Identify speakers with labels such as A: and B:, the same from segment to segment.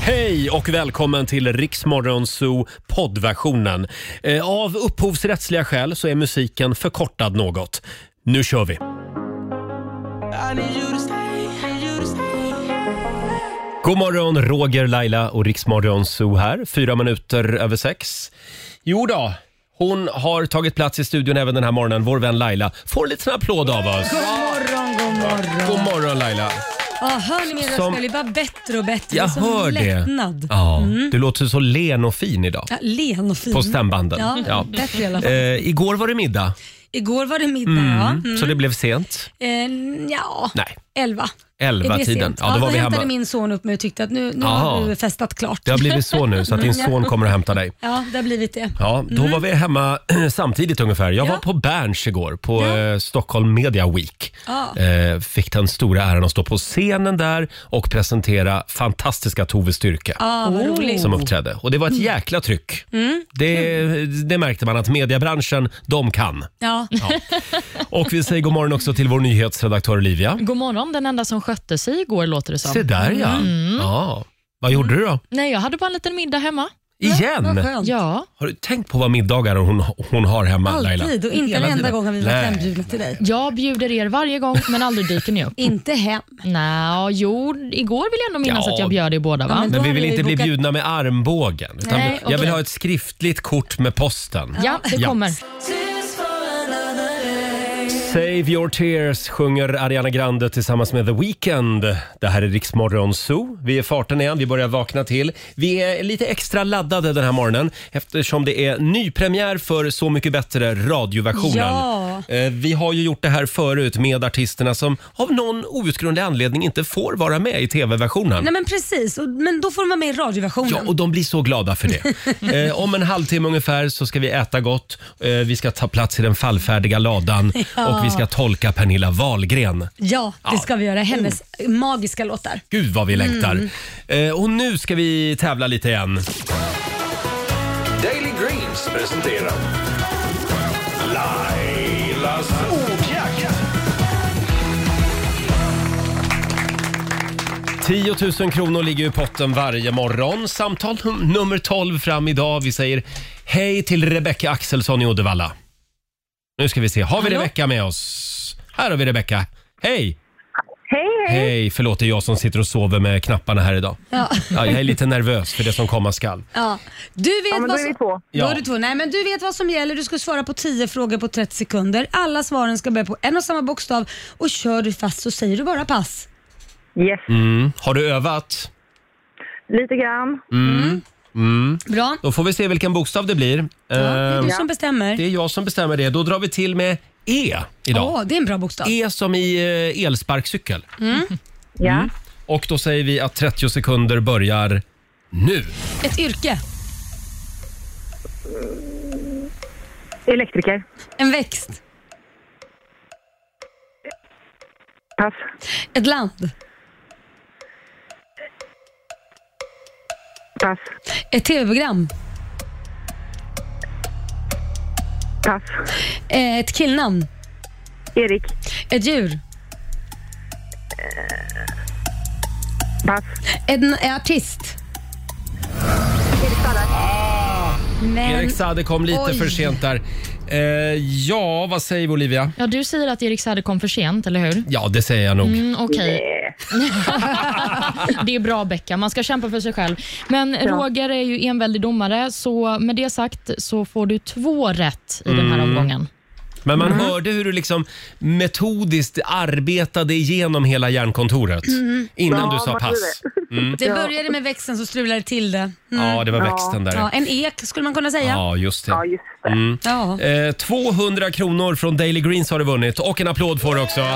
A: Hej och välkommen till Riksmorgon Zoo poddversionen. Eh, Av upphovsrättsliga skäl så är musiken förkortad något. Nu kör vi! God morgon, Roger, Laila och Riksmorgon Zoo här. Fyra minuter över sex. Jo då, hon har tagit plats i studion även den här morgonen. Vår vän Laila får en liten applåd av oss.
B: God morgon, god morgon.
A: God morgon Laila!
B: Ja, hör ni min röst?
A: Som-
B: Jag blir bara bättre och bättre.
A: Jag
B: det är
A: hör
B: som
A: det.
B: lättnad.
A: Ja, Mm. Du låter så len och fin idag.
B: Ja, len och fin.
A: På stämbanden.
B: Ja, bättre i alla fall.
A: Eh, igår var det middag,
B: Igår var det middag, ja. Mm.
A: så det blev sent.
B: Eh, ja,
A: Nej,
B: elva.
A: elva
B: Är det
A: tiden.
B: sent?
A: Ja, då var
B: jag
A: vi
B: hämtade
A: hemma.
B: min son upp mig och tyckte att nu, nu
A: Aha.
B: har du festat klart.
A: Det har blivit så nu, så att din son kommer och hämtar dig.
B: Ja, det har blivit det.
A: Ja, då var vi hemma samtidigt ungefär. Jag var
B: Mm. Ja.
A: på Berns igår, på
B: Ja.
A: eh, Stockholm Media Week.
B: Ja.
A: Eh, fick den stora äran att stå på scenen där och presentera fantastiska Tove Styrke.
B: Ja, Mm. vad roligt.
A: som uppträdde. Och det var ett jäkla tryck. Det, det märkte man att mediebranschen, de kan.
B: Ja.
A: Och vi säger god morgon också till vår nyhetsredaktör Olivia.
C: God morgon, den enda som skötte sig igår låter det som.
A: Se där ja.
B: Mm.
A: ja. Vad gjorde du då?
C: Nej, jag hade bara en liten middag hemma.
A: Igen?
B: Vad skönt.
C: Ja.
A: Har du tänkt på vad middagar hon, hon har hemma Laila?
B: Alltid och inte en
A: Hela
B: enda
A: tiden.
B: gång har vi varit
A: Nej.
B: hembjudna till dig.
C: Jag bjuder er varje gång, men aldrig dyker ni upp.
B: Inte hem.
C: Nja, jo, igår vill jag ändå minnas
A: Ja.
C: att jag bjöd er båda. Va?
A: Men
B: Då
A: vi
B: har
A: vill
B: vi
A: inte bli
B: bokat-
A: bjudna med armbågen. Utan
C: Nej,
A: jag vill
C: okej.
A: ha ett skriftligt kort med posten.
C: Ja, det
A: Ja.
C: kommer.
A: Save your tears sjunger Ariana Grande tillsammans med The Weeknd. Det här är Riksmorgon Zoo. Vi är i farten igen, vi börjar vakna till. Vi är lite extra laddade den här morgonen eftersom det är nypremiär för Så mycket bättre radioversionen.
B: Ja.
A: Eh, Vi har ju gjort det här förut med artisterna som av någon outgrundlig anledning inte får vara med i tv-versionen.
B: Nej men precis, och, men då får de vara med i radioversionen.
A: Ja, och de blir så glada för det. Eh, om en halvtimme ungefär så ska vi äta gott, eh, vi ska ta plats i den fallfärdiga ladan
B: Ja.
A: och vi ska tolka Pernilla Wahlgren.
B: Ja, det ska vi göra. Hennes magiska låtar.
A: Gud vad vi längtar. Eh, och nu ska vi tävla lite igen.
D: Daily Greens presenterar Lailas ordjakt.
A: 10 000 kronor ligger i potten varje morgon. Samtal num- nummer 12 fram idag. Vi säger hej till Rebecca Axelsson i Uddevalla. Nu ska vi se, har vi Rebecca med oss? Här har vi Rebecca. Hej!
E: Hej, hej.
A: Hej, förlåt det är jag som sitter och sover med knapparna här idag.
B: Ja.
A: Ja, jag är lite nervös för det som komma skall.
B: Ja. Du vet
E: Ja, men då
B: vad
E: är
B: som...
E: vi två.
A: Ja.
B: Då är du två. Nej, men du vet vad som gäller. Du ska svara på 10 frågor på 30 sekunder. Alla svaren ska börja på en och samma bokstav och kör du fast så säger du bara pass.
E: Yes,
A: Har du övat?
E: lite grann.
B: Bra.
A: Då får vi se vilken bokstav det blir.
B: Ja, det är
A: Eh,
B: du som bestämmer.
A: det är jag som bestämmer det. Då drar vi till med E idag.
B: Åh, Mm. det är en bra bokstav.
A: E som i eh, elsparkcykel. Mm.
E: Ja.
A: Och då säger vi att 30 sekunder börjar nu.
B: Ett yrke.
E: Elektriker.
B: En växt.
E: Pass.
B: Ett land.
E: Pass.
B: Ett tv-program.
E: Pass.
B: Eh, Ett killnamn.
E: Erik.
B: Ett djur.
E: Pass.
B: En eh, artist. Men,
A: Ah. Erik Saade kom lite
B: Oj.
A: för sent där. Eh, ja, vad säger vi Olivia?
C: Ja, du säger att Erik Saade kom för sent, eller hur?
A: Ja, det säger jag nog.
C: Mm, Okej.
E: Eh,
C: det är bra, Becka. Man ska kämpa för sig själv. Men Roger är ju enväldig domare, så med det sagt så får du två rätt i den här
A: Mm.
C: omgången.
A: Men man
B: Mm.
A: hörde hur du liksom metodiskt arbetade igenom hela hjärnkontoret
B: Mm.
A: innan
E: Ja,
A: du sa
E: man
A: pass.
B: det började med växeln så strulade det till det.
A: Ja, det var växten där.
B: Mm. Ja, en ek skulle man kunna säga.
A: Ja, just
E: Ja,
A: det.
E: just det.
B: Ja.
A: Eh, 200 kronor från Daily Greens har du vunnit och en applåd får du också.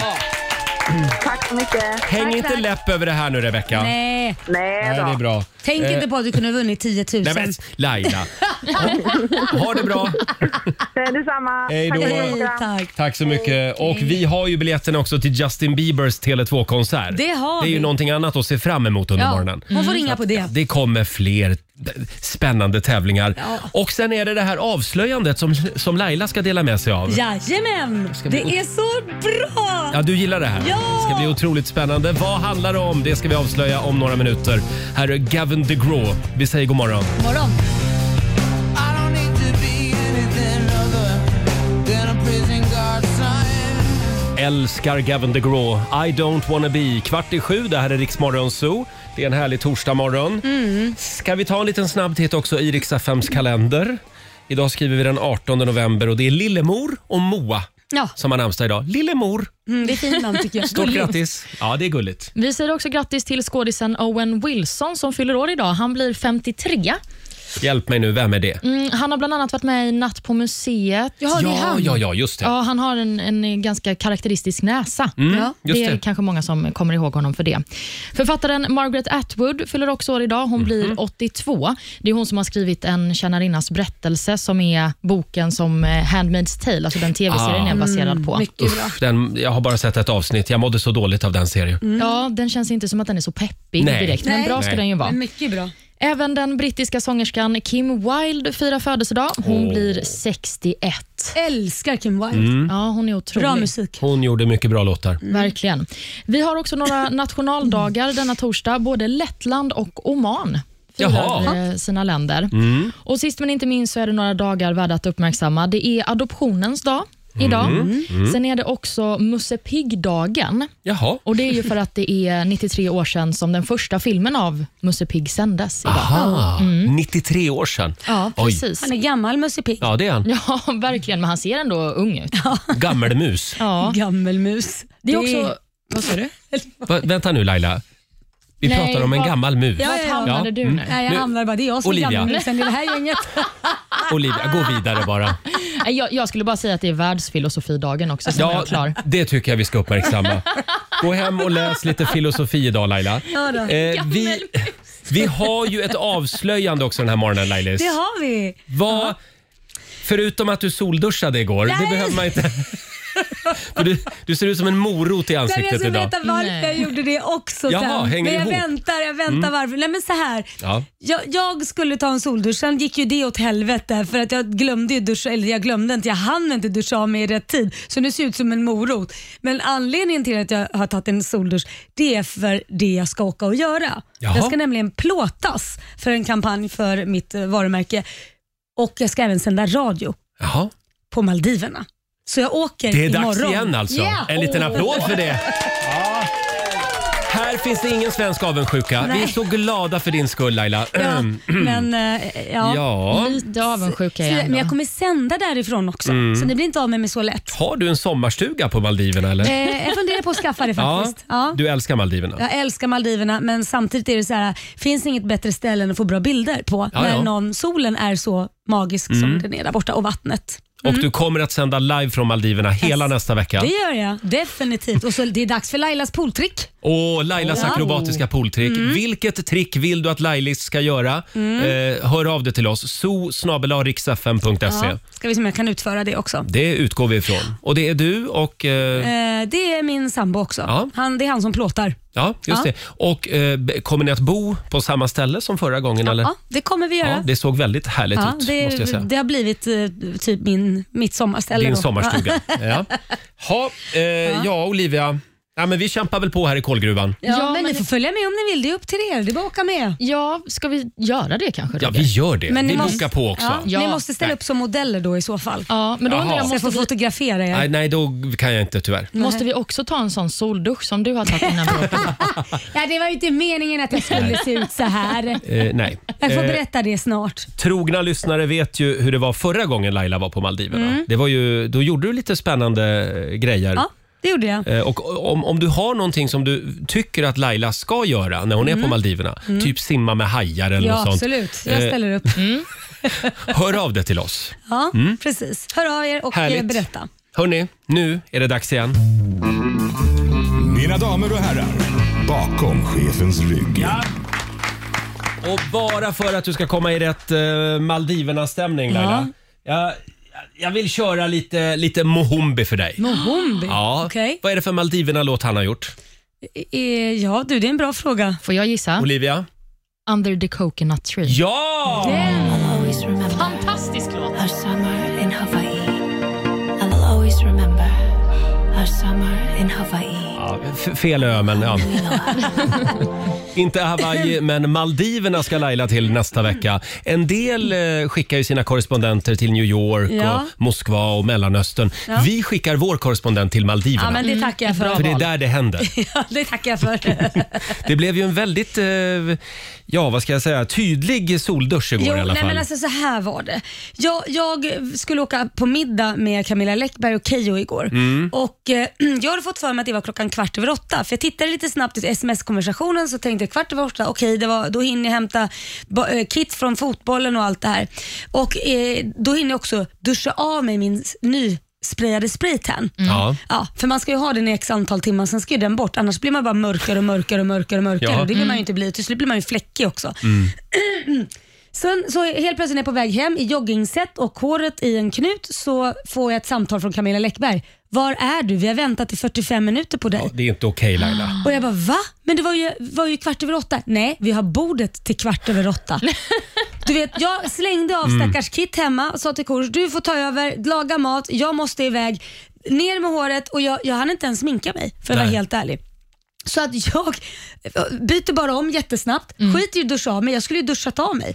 E: Tack så mycket.
A: Häng
B: Tack,
A: inte
B: tack.
A: läpp över det här nu Rebecka.
B: Nej,
E: Nej
A: Nej,
E: då.
A: det är bra.
B: tänk
A: Eh,
B: inte på att du kunde ha vunnit 10 000.
A: Nej, men alltså, Laila. Ha, ha det bra.
E: Eh, Detsamma.
A: Hej då.
E: Tack så
B: Hej,
E: mycket.
B: tack.
A: Tack så mycket. Och vi har ju biljetterna också till Justin Biebers Tele2-konsert.
B: Det har
A: Det är ju
B: vi.
A: någonting annat att se fram emot under
B: Ja,
A: morgonen.
B: hon får ringa på det.
A: Det kommer fler d- spännande tävlingar. Och sen är det det här avslöjandet som, som Laila ska dela med sig av.
B: Jajamän! Det är så bra!
A: Ja, du gillar det här.
B: Ja!
A: Det ska bli otroligt spännande. Vad handlar det om? Det ska vi avslöja om några minuter. Här är Gavin DeGraw. Vi säger god morgon.
B: Morgon.
A: Älskar Gavin DeGraw. I don't wanna be. Kvart i sju, det här är Riksmorgon Zoo. Det är en härlig torsdagmorgon. Ska vi ta en liten snabb titt också i Riksaffems kalender? Idag skriver vi den 18 november och det är Lillemor och Moa
B: Ja,
A: som har namnsdag idag. Lillemor,
B: mm, det är fint namn tycker jag.
A: stort grattis! Ja, det är gulligt.
C: Vi säger också grattis till skådisen Owen Wilson som fyller år idag. Han blir 53.
A: Hjälp mig nu, vem är det?
C: Mm, han har bland annat varit med i Natt på museet.
B: Ja, det är
A: ja,
B: han.
A: ja, ja, just det.
C: Ja, han har en, en ganska karaktäristisk näsa.
B: Ja.
A: Mm, Just
C: det är
A: det.
C: kanske många som kommer ihåg honom för det. Författaren Margaret Atwood fyller också år idag. Hon blir
A: Mhm.
C: 82. Det är hon som har skrivit En tjänarinnas berättelse som är boken som eh, Handmaid's Tale, alltså den tv-serien
A: Ah.
C: är baserad på.
B: Mycket bra.
A: Uff, den, jag har bara sett ett avsnitt. Jag mådde så dåligt av den serien.
C: Ja, den känns inte som att den är så peppig
A: Mm. Nej.
C: direkt, men
B: Nej.
C: bra ska
A: Nej. Mm.
C: den ju vara.
B: Men mycket bra.
C: Även den brittiska sångerskan Kim Wilde firar födelsedag. Hon
A: Åh.
C: blir 61.
B: Älskar Kim Wilde.
A: Mm.
C: Ja, hon är otrolig.
B: Bra musik.
A: Hon gjorde mycket bra låtar.
C: Verkligen. Vi har också några nationaldagar denna torsdag. Både Lettland och Oman
A: Jaha.
C: firar eh, sina länder. Och Sist men inte minst så är det några dagar värda att uppmärksamma. Det är adoptionens dag idag. Sen är det också Musse Pigg-dagen.
A: Jaha.
C: Och Det är ju för att det är 93 år sedan som den första filmen av Musse Pigg sändes. Idag.
A: Aha, 93 år sedan.
C: Mm. Ja,
A: Ah, Oj.
C: precis.
B: Han är gammal Musse Pigg.
A: Ja, det är han.
C: Ja, verkligen. Men han ser ändå ung ut.
A: Gammelmus.
C: Ja.
B: Gammelmus.
C: Det är också...
B: Vad sa du?
A: Va, vänta nu Laila. Vi
C: Nej,
A: pratar om en
C: vad-
A: gammal mus.
B: Ja,
C: Vart
B: ja, ja.
C: hamnade
A: Ja,
C: du
A: mm.
C: nu?
B: Nej, jag
A: Nu-
B: hamnar bara. Det är jag som
A: Olivia.
B: är gammelmusen i det här gänget.
A: Olivia, gå vidare bara.
C: Nej, Jag, jag skulle bara säga att det är världsfilosofidagen också. Sen är jag klar.
A: det tycker jag vi ska uppmärksamma. Gå hem och läs lite filosofi idag Laila.
B: Ja då.
A: Eh, vi, vi har ju ett avslöjande också den här morgonen Lailis.
B: Det har vi.
A: Vad, förutom att du solduschade igår, det
B: Nej.
A: behöver man inte. För du, du ser ut som en morot i
B: Nej, men jag
A: ansiktet
B: ska
A: idag.
B: veta varför
C: Nej.
B: jag gjorde det också
A: Jaha,
B: sen.
A: hänger
B: men jag
A: ihop. Mm.
B: väntar, jag väntar varför. Nej men så här.
A: Ja.
B: Jag, jag skulle ta en soldusch, sen gick ju det åt helvete för att jag glömde ju duscha, eller jag glömde inte, jag hann inte duscha av mig i rätt tid. Så nu ser jag ut som en morot. Men anledningen till att jag har tagit en soldusch, det är för det jag ska åka och göra.
A: Jaha.
B: Jag ska nämligen plåtas för en kampanj för mitt eh, varumärke och jag ska även sända radio
A: Jaha.
B: på Maldiverna. Så jag åker
A: Det är
B: imorgon.
A: dags igen alltså.
B: Ja.
A: En liten applåd för det. Här finns det ingen svensk avundsjuka. Vi är
B: Nej.
A: så glada för din skull Laila.
B: Ja, men eh, ja.
A: Mm. Ja.
C: Lite avundsjuk
B: Så,
C: är jag
B: men
C: ändå.
B: jag kommer sända därifrån också,
A: Mm.
B: så ni blir inte av med mig så lätt.
A: Har du en sommarstuga på Maldiverna eller?
B: Eh, jag funderar på att skaffa det faktiskt. Ja.
A: Du älskar Maldiverna.
B: Jag älskar Maldiverna men samtidigt är det så här, finns inget bättre ställe än att få bra bilder på
A: Ja,
B: när
A: ja. Mm.
B: någon, solen är så magisk som den är där borta och vattnet.
A: Och du kommer att sända live från Maldiverna hela nästa vecka.
B: Det gör jag definitivt. Och så, det är dags för Lailas pooltrick.
A: Och Lailas
B: Ja. Mm.
A: akrobatiska pooltrick. Vilket trick vill du att Lailis ska göra?
B: Mm.
A: Eh, hör av dig till oss. so
B: Ja. Ska vi se om jag kan utföra det också.
A: Det utgår vi ifrån. Och det är du och... Eh,
B: Eh, det är min sambo också.
A: Ja.
B: Han, det är han som plåtar.
A: ja, just
B: Ja.
A: det. Och eh, b- kommer ni att bo på samma ställe som förra gången? eller?
B: Ja, det kommer vi göra.
A: Ja, det såg väldigt härligt
B: Ja,
A: ut
B: det,
A: måste jag säga.
B: det har blivit eh, typ min, mitt sommarställe.
A: Din
B: då.
A: sommarstuga. ja. Ha, eh, ja. Olivia. Ja, men vi kämpar väl på här i kolgruvan.
B: Ja,
C: Ja,
B: men,
C: men-
B: ni får följa med om ni vill. Det är upp till er. Det är bara att åka med.
C: Ja, ska vi göra det kanske?
A: Ja,
C: Roger?
A: vi gör det.
B: Men
A: vi
B: ni måste-
A: bokar på också.
B: Ja,
C: Ja.
B: Ni måste ställa
A: Nej.
B: upp som modeller då i så fall.
C: ja men då undrar
A: Jaha.
C: jag,
B: Så jag
C: måste
B: får
C: vi,
B: fotografera er.
A: Nej, nej, då kan jag inte tyvärr.
C: måste vi också ta en sån soldusch som du har tagit innan vi åker?
B: Ja, det var ju inte meningen att jag skulle se ut så här.
A: Eh, nej.
B: Jag får
A: Eh,
B: berätta det snart.
A: trogna lyssnare vet ju hur det var förra gången Laila var på Maldiverna. Det var ju, då gjorde du lite spännande eh, grejer.
B: Mm. Ja, det gjorde jag.
A: Eh, Och om, om du har någonting som du tycker att Laila ska göra när hon är på Maldiverna, typ simma med hajar eller något
B: Mm. Ja,
A: sånt.
B: absolut. Jag
A: Eh,
B: ställer upp.
A: Hör av dig till oss.
B: Ja, precis. Hör av er och
A: Mm. Härligt.
B: eh, berätta.
A: Hörni, nu är det dags igen.
D: Mina damer och herrar, bakom chefens rygg.
A: Och bara för att du ska komma i rätt eh, Maldiverna-stämning Laila. Jag, jag vill köra lite, lite Mohombi för dig.
B: Mohombi?
A: Ja.
B: Okej.
A: Vad är det för Maldiverna-låt han har gjort?
B: Eh, Ja du, det är en bra fråga.
C: Får jag gissa?
A: Olivia?
C: Under the coconut tree.
A: Ja!
C: Den!
F: always remember
C: Fantastisk låt.
F: our summer in Hawaii. I'll always remember our summer in Hawaii.
A: Ja, f- fel ö, men ja. Inte Hawaii, men Maldiverna ska Laila till nästa vecka. En del eh, skickar ju sina korrespondenter till New York,
B: Ja.
A: och Moskva och Mellanöstern.
B: Ja.
A: Vi skickar vår korrespondent till Maldiverna.
B: Ja, men det tackar jag för.
A: För det är där det händer.
B: Mm. Ja, det tackar jag för.
A: Det blev ju en väldigt, eh, ja vad ska jag säga, tydlig soldusch igår
B: Jo,
A: i alla
B: nej,
A: fall.
B: men alltså, så här var det. Jag, jag skulle åka på middag med Camilla Läckberg och Keyyo igår.
A: Mm.
B: Och, eh, jag hade fått för mig att det var klockan kvart över åtta, för jag tittade lite snabbt i sms-konversationen så tänkte jag kvart över åtta, okej det var, då hinner jag hämta ba- eh, kit från fotbollen och allt det här. Och eh, Då hinner jag också duscha av mig min s- nysprayade spraytan.
A: Ja.
B: Ja, för man ska ju ha den i x antal timmar, sen ska ju den bort. Annars blir man bara mörkare och mörkare och mörkare och mörkare.
A: Ja.
B: Och det vill man ju inte bli. Till slut blir man ju fläckig också. Sen så helt plötsligt när jag är på väg hem i joggingset och håret i en knut så får jag ett samtal från Camilla Läckberg. Var är du? Vi har väntat i 45 minuter på dig.
A: Det är inte okej Laila.
B: Och jag bara va? Men det var ju, var ju kvart över åtta. Nej, vi har bordet till kvart över åtta. Du vet, jag slängde av stackars Kit hemma och sa till Kors, du får ta över, laga mat, jag måste iväg. Ner med håret och jag, jag hann inte ens sminka mig för att vara
A: Nej.
B: helt ärlig. Så att jag byter bara om jättesnabbt,
A: Mm.
B: skiter i att duscha av mig, jag skulle ju duschat av mig.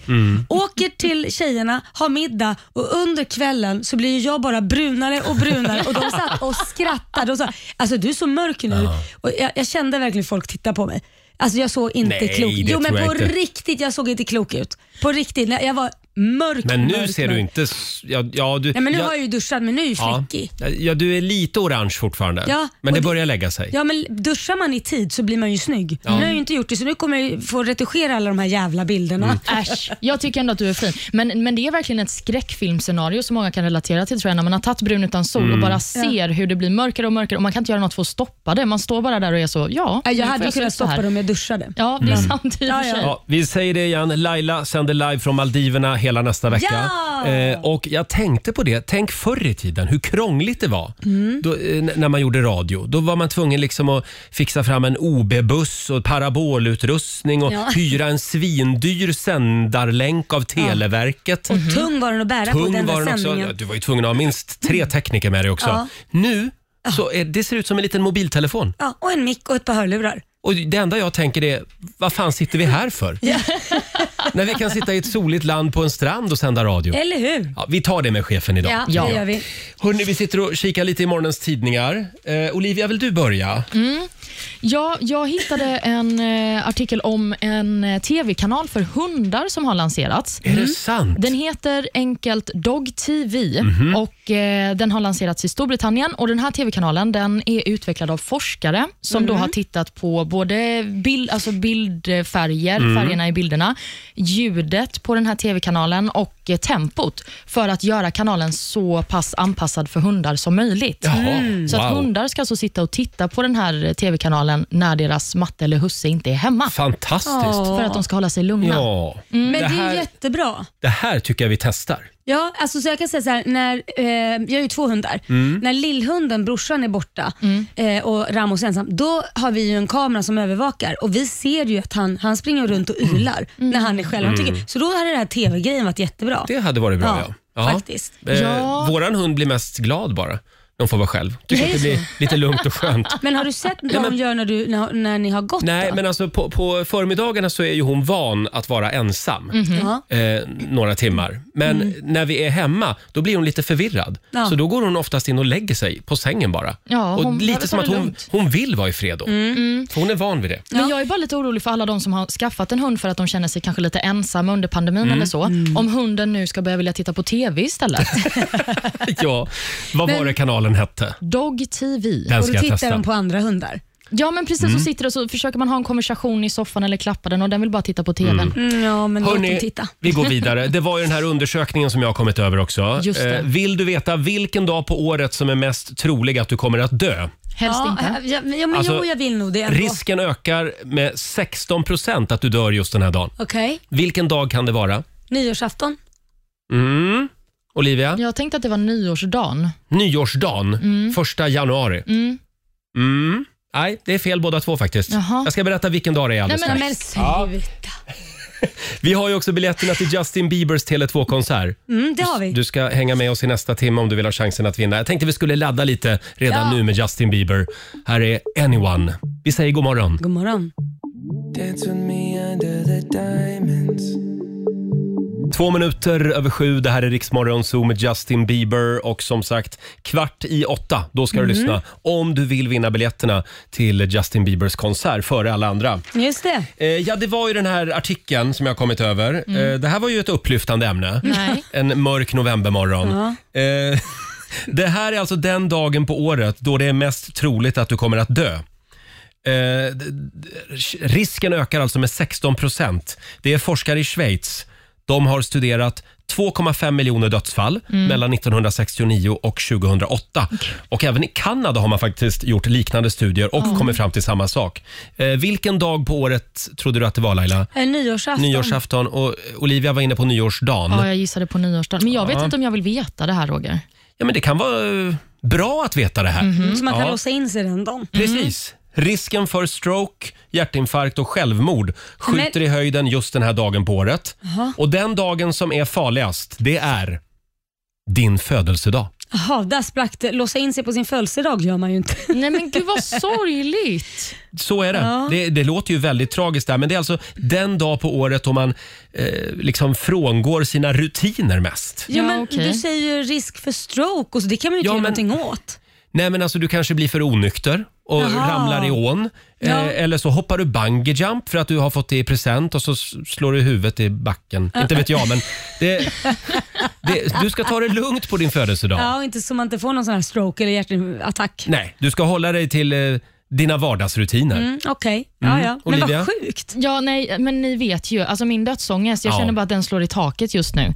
B: Åker till tjejerna, har middag och under kvällen så blir ju jag bara brunare och brunare och de satt och skrattade och sa alltså du är så mörk nu. Och jag, jag kände verkligen folk titta på mig. Alltså jag såg inte
A: Nej,
B: klok
A: det
B: Jo men
A: tror jag
B: på
A: inte.
B: riktigt, jag såg inte klok ut. På riktigt, Nej, jag var mörk.
A: Men nu
B: mörk,
A: ser du
B: mörk.
A: inte, s- ja, ja du...
B: Nej men nu
A: jag-
B: har jag ju duschat men nu är jag ju
A: ja,
B: fläckig.
A: ja, du är lite orange fortfarande.
B: Ja,
A: men
B: och
A: det
B: det-
A: börjar lägga sig.
B: Ja men duschar man i tid så blir man ju snygg. Nu har jag ju inte gjort det så nu kommer jag ju få retuschera alla de här jävla bilderna.
C: Äsch, jag tycker ändå att du är fin. Men, men det är verkligen ett skräckfilmscenario som många kan relatera till tror jag, när man har tagit brun utan sol
A: Mm.
C: och bara ser hur det blir mörkare och mörkare och man kan inte göra något för att stoppa det. Man står bara där och är så, ja.
B: Ja,
C: nu
B: Jag
C: får
B: hade ju
C: se
B: kunnat
C: ut så här.
B: stoppa
C: Mm.
B: dem om jag duschade.
C: Ja, det är sant i och för
B: Ja, ja.
C: sig.
A: Mm. Ja, vi säger det igen. Laila sänder live från Maldiverna hela nästa vecka.
B: Ja!
A: Eh, och jag tänkte på det. Tänk förr i tiden hur krångligt det var
B: Mm.
A: då, eh, n- när man gjorde radio. Då var man tvungen liksom att fixa fram en OB-buss och parabolutrustning och
B: Ja.
A: hyra en svindyr sändarlänk av Televerket.
B: Och tung var den att bära på
A: Tung
B: den
A: var
B: där
A: den också.
B: sändningen.
A: Ja, Du var ju tvungen att ha minst tre tekniker med dig också.
B: Ja.
A: Nu så är, det ser ut som en liten mobiltelefon.
B: Ja, och en mick och ett par hörlurar.
A: Och Det enda jag tänker är, vad fan sitter vi här för? När vi kan sitta i ett soligt land på en strand och sända radio.
B: Eller hur?
A: Ja, vi tar det med chefen idag.
B: Ja,
C: Ja.
B: det gör vi.
A: Hörrni, vi sitter och kikar lite i morgonens tidningar. Eh, Olivia, vill du börja?
C: Ja, jag hittade en eh, artikel om en eh, tv-kanal för hundar som har lanserats.
A: Är det sant?
C: Den heter enkelt Dog TV och eh, den har lanserats i Storbritannien. Och Den här tv-kanalen den är utvecklad av forskare som då har tittat på både bild, alltså bildfärger, färgerna i bilderna, ljudet på den här tv-kanalen och eh, tempot för att göra kanalen så pass anpassad för hundar som möjligt.
A: Jaha,
C: Mm. Så att
A: wow.
C: hundar ska alltså sitta och titta på den här eh, tv-kanalen när deras matte eller husse inte är hemma.
A: Fantastiskt.
C: För att de ska hålla sig lugna.
A: Ja.
B: Men
A: Det
B: det, är
A: här-
B: ju jättebra.
A: Det här tycker jag vi testar.
B: Ja, alltså så jag kan säga så här, när, eh, jag har ju två hundar. När lillhunden, brorsan, är borta eh, och Ramos är ensam, då har vi ju en kamera som övervakar och vi ser ju att han, han springer runt och ylar när han är själv. Han tycker, så då hade den här TV-grejen varit jättebra.
A: Det hade varit bra.
B: ja,
A: Ja. Ja.
B: faktiskt.
A: Eh,
C: Ja.
A: Våran hund blir mest glad bara. De får vara själv. Tycker att det blir lite lugnt och skönt.
B: Men har du sett vad de gör när, du, när, när ni har gått?
A: Nej,
B: då?
A: men alltså på, på förmiddagarna så är ju hon van att vara ensam.
B: Ja.
A: eh, några timmar. Men när vi är hemma, då blir hon lite förvirrad.
B: Ja.
A: Så då går hon oftast in och lägger sig på sängen bara.
C: Ja,
A: och
C: hon
A: lite
C: tar
A: som
C: det
A: att hon,
C: lugnt.
A: hon vill vara i fred då. För hon är van vid det.
C: Men jag är bara lite orolig för alla de som har skaffat en hund för att de känner sig kanske lite ensamma under pandemin
A: Mm.
C: eller så. Om hunden nu ska börja vilja titta på TV istället.
A: ja, vad var det kanalen hette?
C: Dog TV.
A: Den
B: Och
A: ska
B: då
A: jag
B: tittar
A: testa.
B: de på andra hundar.
C: Ja men precis,
A: Mm.
C: så sitter det och så försöker man ha en konversation i soffan eller klappa den och den vill bara titta på TV.
B: Mm, ja, men låt dem
A: Hörrni,
B: titta.
A: vi går vidare. Det var ju den här undersökningen som jag har kommit över också. Eh,
C: Just det.
A: vill du veta vilken dag på året som är mest trolig att du kommer att dö?
C: Helst
B: Ja, eh,
C: inte.
B: ja, men- ja, men
A: Alltså,
B: jo, jag vill nog det. ändå.
A: Risken ökar med 16 procent att du dör just den här dagen.
B: Okej,
A: Vilken dag kan det vara?
B: nyårsafton.
A: Mm. Olivia?
C: Jag tänkte att det var nyårsdagen.
A: nyårsdagen,
B: Mm.
A: första januari. Mm. Nej, det är fel båda två faktiskt.
C: Jaha.
A: Jag ska berätta vilken dag det är alldeles
C: Nej, men-
A: strax.
B: Men sluta.
A: Vi har ju också biljetterna till Justin Biebers Tele2-konsert.
B: Mm, det har vi.
A: Du ska hänga med oss i nästa timme om du vill ha chansen att vinna. Jag tänkte vi skulle ladda lite redan
B: Ja.
A: nu med Justin Bieber. Här är Anyone. Vi säger god morgon.
B: God morgon.
A: Två minuter över sju, det här är Riksmorgon Zoo med Justin Bieber och som sagt kvart i åtta, då ska du
B: Mhm.
A: lyssna. Om du vill vinna biljetterna till Justin Biebers konsert före alla andra.
B: Just det.
A: Eh, ja, det var ju den här artikeln som jag har kommit över. Eh, det här var ju ett upplyftande ämne.
C: Nej.
A: En mörk novembermorgon. Eh, det här är alltså den dagen på året då det är mest troligt att du kommer att dö. Eh, d- d- risken ökar alltså med 16 procent. Det är forskare i Schweiz. De har studerat 2,5 miljoner dödsfall mellan 1969 och 2008. Och Även i Kanada har man faktiskt gjort liknande studier och kommit fram till samma sak. Eh, vilken dag på året trodde du att det var Laila?
B: Eh, Nyårsafton.
A: Nyårsafton och Olivia var inne på nyårsdagen.
C: Ja, jag gissade på nyårsdagen. Men jag vet inte om jag vill veta det här, Roger.
A: Ja, men det kan vara eh, bra att veta det här.
B: Mm. Så man kan
A: Ja.
B: låsa in sig den dagen.
A: Precis. Risken för stroke, hjärtinfarkt och självmord skjuter i höjden just den här dagen på året. Och den dagen som är farligast, det är din födelsedag.
B: Jaha, där sprack det. Låsa in sig på sin födelsedag gör man ju inte.
C: Nej men gud vad sorgligt.
A: Så är det. det. Det låter ju väldigt tragiskt där, men det är alltså den dag på året då man eh, liksom frångår sina rutiner mest.
B: Ja,
C: Ja,
B: men
C: okej.
B: Du säger ju risk för stroke och så, det kan man ju inte
A: Ja,
B: göra
A: men-
B: någonting åt.
A: Nej, men alltså du kanske blir för onykter och
B: Jaha.
A: ramlar i ån. Eh,
B: Ja.
A: eller så hoppar du bungee jump för att du har fått det i present och så s- slår du huvudet i backen. Inte vet jag, men det, det, du ska ta det lugnt på din födelsedag.
B: Ja, och inte så man inte får någon sån här stroke eller hjärtattack.
A: Nej, du ska hålla dig till eh, dina vardagsrutiner.
B: Mm, Okej, ja, ja. Men
A: Olivia?
B: vad sjukt.
C: Ja, nej, men ni vet ju. Alltså min dödsångest, jag
A: Ja.
C: känner bara att den slår i taket just nu.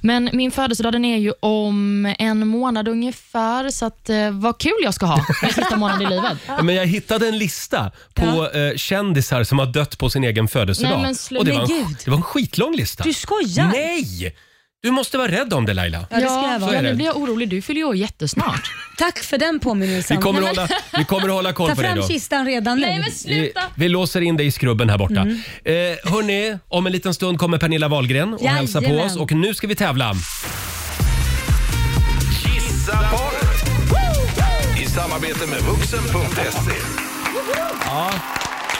C: Men min födelsedag den är ju om en månad ungefär, så att, eh, vad kul jag ska ha min sista månad i livet.
A: Men jag hittade en lista på eh, kändisar som har dött på sin egen födelsedag.
C: Nej, men slu-
A: och det, var
B: men
A: en,
B: gud.
A: det var en skitlång lista.
B: Du skojar?
A: Nej! Du måste vara rädd om det Laila.
B: Ja, det ska jag
A: så
B: vara.
A: är det.
C: nu blir jag orolig. Du fyller ju år jättesnart.
B: Tack för den
A: Vi
B: påminnelsen.
A: kommer, att
B: Nej, men-
A: hålla, vi kommer att hålla koll
B: Ta
A: på dig
B: fram
A: då.
B: kistan redan nu.
A: Vi, vi låser in dig i skrubben här borta.
B: Mm.
A: Eh, hörni, om en liten stund kommer Pernilla Wahlgren och hälsa på
B: Jajamän.
A: oss. Och nu ska vi tävla.
G: Gissa porret. I samarbete med vuxen.se.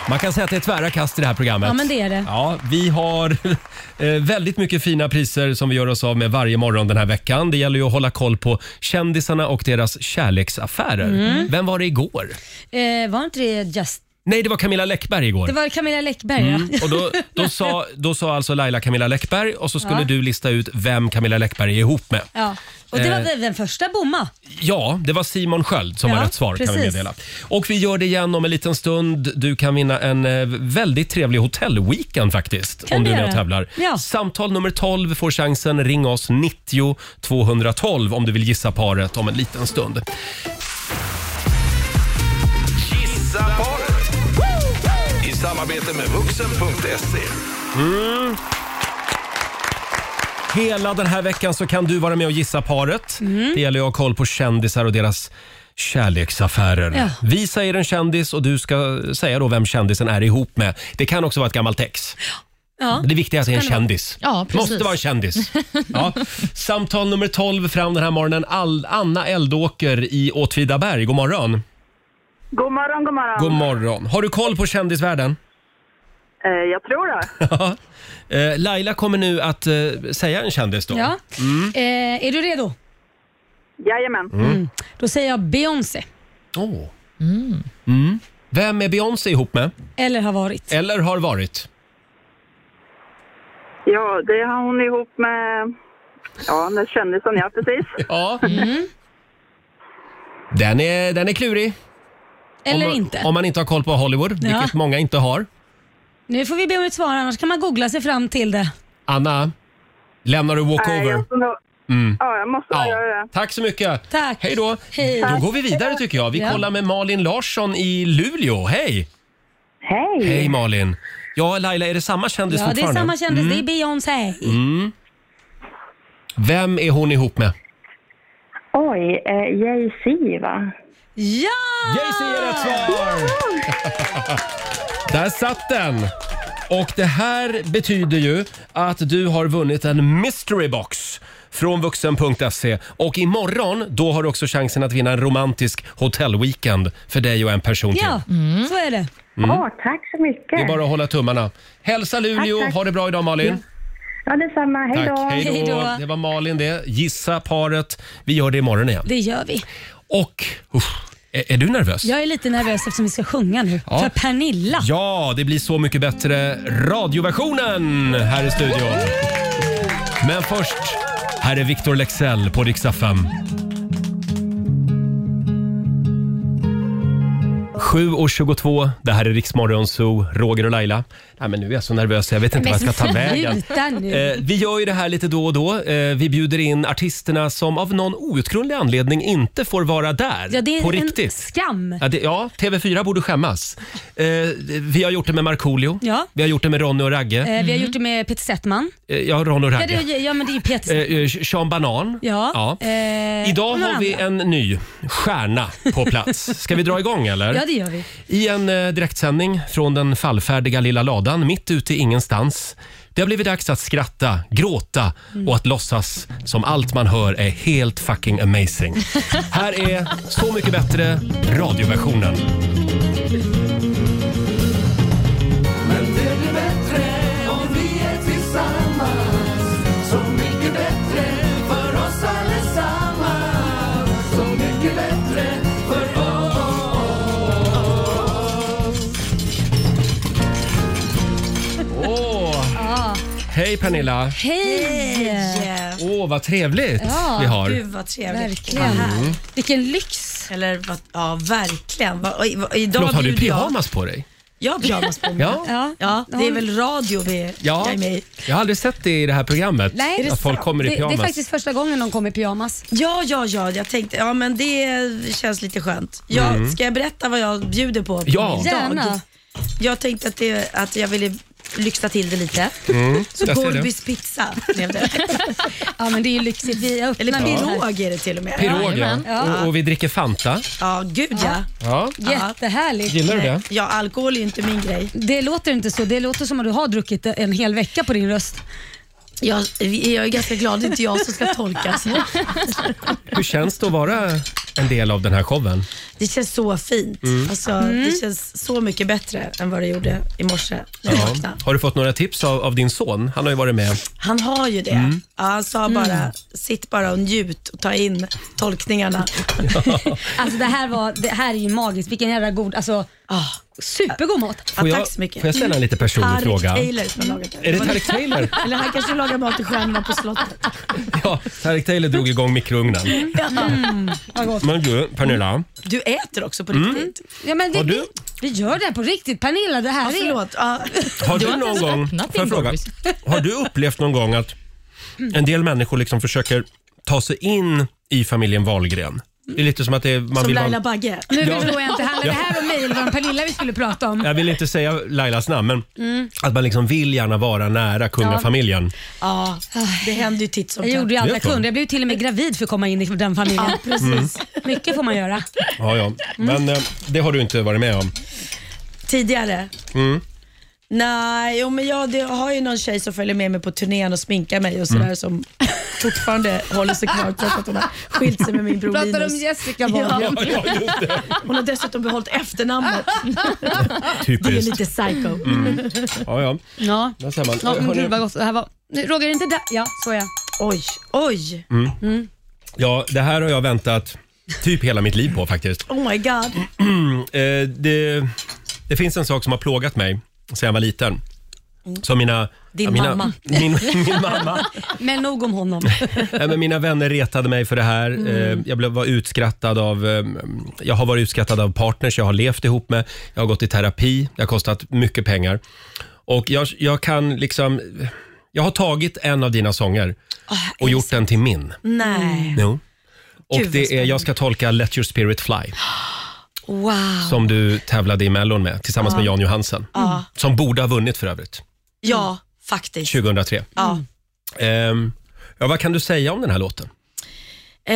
A: Man kan säga att det är tvära kast i det här programmet.
B: Ja, men det är det.
A: Ja, vi har eh, väldigt mycket fina priser som vi gör oss av med varje morgon den här veckan. Det gäller ju att hålla koll på kändisarna och deras kärleksaffärer.
B: Mm.
A: Vem var det igår?
B: Eh, var inte det just...
A: Nej, det var Camilla Läckberg igår.
B: Det var Camilla Läckberg ja.
A: Mm. Och då, då, sa, då sa alltså Laila Camilla Läckberg och så skulle du lista ut vem Camilla Läckberg är ihop med.
B: ja. Och det var
A: Eh.
B: väl den första bomma.
A: Ja, det var Simon Sköld som
B: Ja,
A: var rätt svar kan vi
B: precis.
A: meddela. Och vi gör det igen om en liten stund. Du kan vinna en eh, väldigt trevlig hotellweekend faktiskt.
B: Kan
A: om du
B: vi
A: är med och
B: göra.
A: tävlar.
B: Ja.
A: Samtal nummer 12 får chansen. Ring oss 90 212 om du vill gissa paret om en liten stund.
G: Gissa porret. I samarbete med vuxen.se.
A: Hela den här veckan så kan du vara med och gissa paret. Det gäller ju att ha koll på kändisar och deras kärleksaffärer.
B: Ja.
A: Vi säger en kändis och du ska säga då vem kändisen är ihop med. Det kan också vara ett gammalt ex.
B: Ja.
A: Det viktiga är att det är en kändis.
C: Ja, precis.
A: Måste vara en kändis. Ja. Samtal nummer 12 fram den här morgonen. All- Anna Eldåker i Åtvidaberg. God morgon.
E: God morgon, god morgon.
A: God morgon. Har du koll på kändisvärlden?
E: eh, jag tror det.
A: Eh, Laila kommer nu att eh, säga en kändis då.
B: Ja.
A: Mm.
B: Eh, är du redo?
E: Jajamän.
B: Då säger jag Beyoncé.
A: Åh. Mm. Vem är Beyoncé ihop med?
B: Eller har varit.
A: Eller har varit?
E: Ja, det har hon ihop med... Ja, den kändisen, ja precis.
A: Ja. Mm. Den, är, den är klurig.
B: Eller
A: om, man-
B: inte.
A: Om man inte har koll på Hollywood, vilket många inte har.
B: Nu får vi be om ett svar annars kan man googla sig fram till det.
A: Anna, lämnar du
E: Nej,
A: walkover?
E: Eh, jag måste nog...
A: Mm.
E: Ja, jag måste nog göra det.
A: Tack så mycket.
B: Tack.
A: Hej då.
B: Hej.
A: Då går vi vidare tycker jag. Vi
B: Ja.
A: kollar med Malin Larsson i Luleå. Hej!
E: Hej!
A: Hej Malin. Ja, Laila, är det samma kändis
B: Ja, det är
A: fortfarande? Mm.
B: samma kändis. Det är Beyoncé.
A: Vem är hon ihop med?
H: Oj, eh, Jay-Z va?
B: Ja!
A: Jay-Z är rätt svar! Där satt den! Och det här betyder ju att du har vunnit en mystery box från vuxen.se och imorgon då har du också chansen att vinna en romantisk hotellweekend för dig och en person till.
H: Ja, så är det.
I: Åh, tack så mycket.
A: Mm. Det är bara att hålla tummarna. Hälsa Luleå,
I: Tack, tack.
A: ha det bra idag Malin.
I: Ja, detsamma. Hej då.
A: Tack, hej
H: Hej
A: då.
H: då.
A: Det var Malin det. Gissa paret. Vi gör det imorgon igen.
H: Det gör vi.
A: Och, usch, är, är du nervös?
H: Jag är lite nervös eftersom vi ska sjunga nu.
A: Ja.
H: För Pernilla.
A: Ja, det blir Så mycket bättre radioversionen här i studion. Men först, här är Victor Lexell på Rix FM. 7.22, det här är Riksmorgon Zoo, Roger och Laila. Nej, men nu är jag så nervös, jag vet inte vad jag ska ta vägen.
H: Sluta nu.
A: Eh, vi gör ju det här lite då och då. Eh, vi bjuder in artisterna som av någon outgrundlig anledning inte får vara där.
H: ja, det är
A: på
H: en
A: riktigt.
H: skam. Eh,
A: Ja, det, ja, TV4 borde skämmas. Eh, vi har gjort det med Markoolio.
H: Ja.
A: Vi har gjort det med Ronny och Ragge.
H: Eh, Vi har gjort det med Peter Settman.
A: Eh, ja, Ronny och
H: Ja,
A: Ragge.
H: det, ja men det är ju Peter Settman.
A: Mm. Eh, eh, Sean Banan.
H: Ja. Eh,
A: Idag
H: och några
A: har vi
H: andra.
A: en ny stjärna på plats. Ska vi dra igång eller?
H: Ja, det gör vi.
A: I en eh, direktsändning från den fallfärdiga lilla ladan mitt ute i ingenstans. Det har blivit dags att skratta, gråta och att låtsas som allt man hör är helt fucking amazing. Här är Så mycket bättre radioversionen. Åh! Hej Pernilla!
H: Hej!
A: Åh, vad trevligt vi har.
B: Gud vad trevligt.
H: Verkligen.
A: Mm.
H: Vilken lyx.
B: Eller vad, ja verkligen. Vad- oj, vad- Idag
A: Förlåt, har du
B: bjuder jag-
A: pyjamas på dig?
B: Jag har pyjamas på mig.
A: Ja.
H: Ja.
B: Ja, det är väl radio vi,
A: Ja.
B: jag är med i.
A: Jag har aldrig sett det i det här programmet.
H: Nej,
A: att folk kommer i
H: det, det
A: pyjamas.
H: är faktiskt första gången någon kommer i pyjamas.
B: Ja, ja, ja, jag tänkte, ja men det känns lite skönt. Jag, Ska jag berätta vad jag bjuder på?
A: Mm. Ja.
B: idag?
H: Gärna.
B: Jag tänkte att, det, att jag ville lyxa till det lite. Så
A: Mm, jag ser det.
B: Gorbys pizza blev det.
H: Ja, men det är ju lyxigt. Vi öppnar
B: Eller
H: den här.
B: pirog är det till och med.
A: Pirog, ja.
C: Jajamän.
A: Och, och vi dricker Fanta.
B: Ja, gud ja.
A: Ja.
H: Jättehärligt.
A: Gillar du det?
B: Ja, alkohol är ju inte min grej.
H: Det låter inte så. Det låter som att du har druckit en hel vecka på din röst.
B: Jag, jag är ganska glad det är inte jag som ska tolkas.
A: Hur känns det att vara en del av den här showen? Mm.
B: Det känns så fint. Alltså, Det känns så mycket bättre än vad det gjorde i morse när jag
A: Ja.
B: vaknade.
A: Har du fått några tips av, av din son? Han har ju varit med.
B: Han har ju det.
A: Mm.
B: Ja, han sa bara,
H: Mm.
B: sitt bara och njut och ta in tolkningarna.
H: Alltså det här, var, det här är ju magiskt. Vilken jävla god, alltså
B: Ah,
H: supergod mat.
B: ja,
A: jag,
B: tack så mycket.
A: Får jag ställa en lite personlig
B: Tarik
A: fråga?
B: Taylor som har lagat det.
A: Är det Tarik Taylor?
B: Eller han kanske lagar mat till stjärnorna på slottet.
A: Ja, Tarik Taylor drog igång Mm. mikrougnen.
H: Vad gott.
A: Men du, Pernilla.
B: Du äter också på
A: Mm.
B: riktigt.
H: Ja, men vi,
A: Har du-
H: vi, vi gör det här på riktigt. Pernilla, det här
B: Ja,
H: är...
B: förlåt. Ja.
A: Har du,
C: har inte
A: någon
C: ens
A: gång,
C: öppnat
A: får jag
C: din
A: fråga,
C: Boris.
A: har du upplevt någon gång att en del människor liksom försöker ta sig in i familjen Wahlgren? Det är lite som att det är, man
B: Som
A: vill vara-
B: Laila Bagge.
H: Nu förstår jag inte. Handlar det här om mig eller var det Pernilla vi skulle prata om?
A: jag vill inte säga Lailas namn, men att man liksom vill gärna vara nära kungafamiljen.
B: Ja, det händer ju titt som
H: Jag gjorde
B: tätt.
H: ju allt
A: Vet
H: jag
A: du?
H: kunde. Jag blev ju till och med gravid för att komma in i den familjen.
B: Ja, precis.
H: Mm. Mycket får man göra.
A: Ja, ja. Men eh, det har du inte varit med om.
B: Tidigare? Nej, jo, men jag, det, jag har ju någon tjej som följer med mig på turnén och sminkar mig och sådär som fortfarande håller sig kvar trots att hon har skilt sig med min bror
H: Pratar
B: Linus.
H: om Jessica Wahlgren?
B: ja,
A: Ja, just det.
B: Hon har dessutom behållit efternamnet. Det är
A: Typiskt.
B: lite psycho.
A: Ja, ja.
H: Ja.
A: Där ser man.
H: Ja, men
A: Hörni,
H: gud vad gott. Det här var... Nu, Roger, är inte där? Ja, så ja.
B: Oj, oj.
A: ja, det här har jag väntat typ hela mitt liv på faktiskt.
B: Oh my god.
A: Eh, det, det finns en sak som har plågat mig sedan jag var liten. Som mina...
H: Din
A: mina,
H: mamma.
A: Min, min mamma.
H: Men nog om honom.
A: Nej, men mina vänner retade mig för det här. Eh, Jag blev, var utskrattad av... eh, Jag har varit utskrattad av partners jag har levt ihop med. Jag har gått i terapi. Det har kostat mycket pengar. Och jag, jag kan liksom... Jag har tagit en av dina sånger och gjort den till min.
B: Nej.
A: Jo. Och
B: Mm. Gud, vad
A: det är, jag ska tolka Let your spirit fly. Som du tävlade i Mellon med tillsammans med Jan Johansen. Som borde ha vunnit för övrigt,
B: Ja, faktiskt.
A: 2003.
B: Ja.
A: Ehm, ja, vad kan du säga om den här låten?
B: Eh,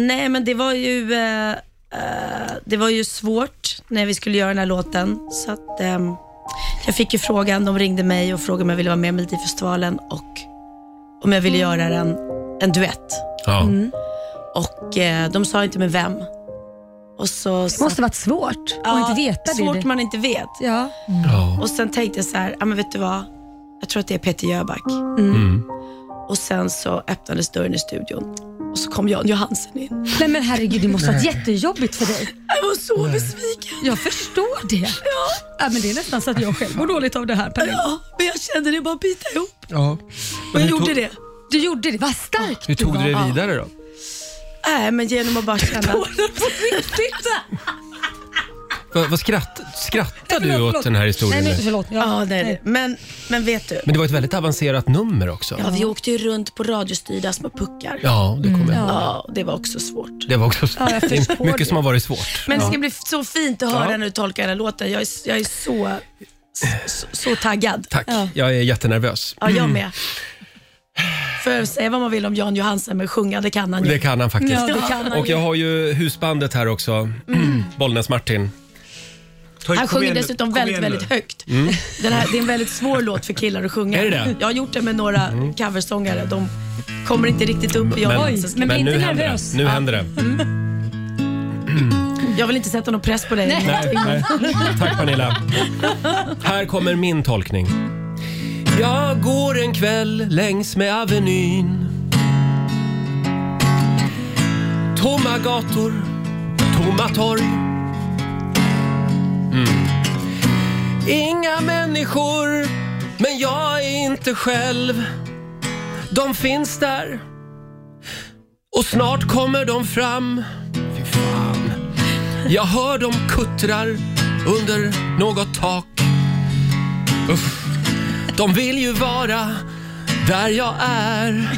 B: nej, men det var ju eh, eh, Det var ju svårt när vi skulle göra den här låten. Så att, ehm,
J: Jag fick ju frågan, de ringde mig och frågade om jag ville vara med i Melodifestivalen och om jag ville göra en, en duett.
A: Ja.
J: Och eh, de sa inte med vem. Och så
B: Det måste varit svårt att inte veta
J: svårt
B: det.
J: man inte vet.
B: Ja.
A: Ja.
J: Och sen tänkte jag så här, ja men vet du vad? Jag tror att det är Peter Jöback.
A: Mm.
J: Och sen så öppnades dörren i studion och så kom Jan Johansen in.
B: Nej men herregud, det måste ha varit jättejobbigt för dig.
J: Jag var så besviken.
B: Jag förstår det. Ja. men det är nästan så att jag själv mår dåligt av det här Pernilla.
J: Ja, men jag kände det bara bita ihop.
A: ja.
J: Och jag
A: hur,
J: gjorde
A: tog,
J: det.
B: Du gjorde det, vad starkt
A: hur tog
B: var.
A: du det vidare då?
J: Nej, men genom att bara känna...
A: Vad, vad skratt, skrattar
B: Förlåt,
A: du åt
B: förlåt.
A: den här historien?
B: Nej,
A: nu?
B: men förlåt. Ja.
J: Ja, nej, nej. Men, men vet du?
A: Men det var ett väldigt avancerat nummer också.
J: Ja, vi åkte ju runt på radiostyrda små puckar.
A: Ja, det kommer jag ihåg.
J: Ja, och det var också svårt.
A: Det var också
B: Mm. jag
A: det är
B: förstår
A: mycket
B: det.
A: som har varit svårt.
J: Men det ska bli så fint att höra
A: Ja.
J: när du tolkar den här låten. Jag är, jag är så, så, så taggad.
A: Tack, jag är jättenervös.
J: Ja, jag med. För säga vad man vill om Jan Johansen, men sjunga det kan han ju.
A: Det kan han faktiskt.
B: Ja, det kan han
A: Och jag har ju husbandet här också, Bollnäs-Martin.
J: Han sjunger dessutom väldigt, väldigt högt. Den här, det är en väldigt svår låt för killar att sjunga.
A: Mm. Är det det? Mm.
J: Jag har gjort det med några coversångare. De kommer inte riktigt upp i Jan Johansens
B: men- bli
A: nu
B: inte
A: händer
B: nervös.
A: det. Nu händer det.
J: Jag vill inte sätta någon press på dig.
A: Nej, nej. Tack Pernilla. Här kommer min tolkning. Jag går en kväll längs med Avenyn. Tomma gator, tomma torg. Mm. Inga människor, men jag är inte själv. De finns där och snart kommer de fram. Fy fan. Jag hör dem kuttrar under något tak. Uff. De vill ju vara där jag är.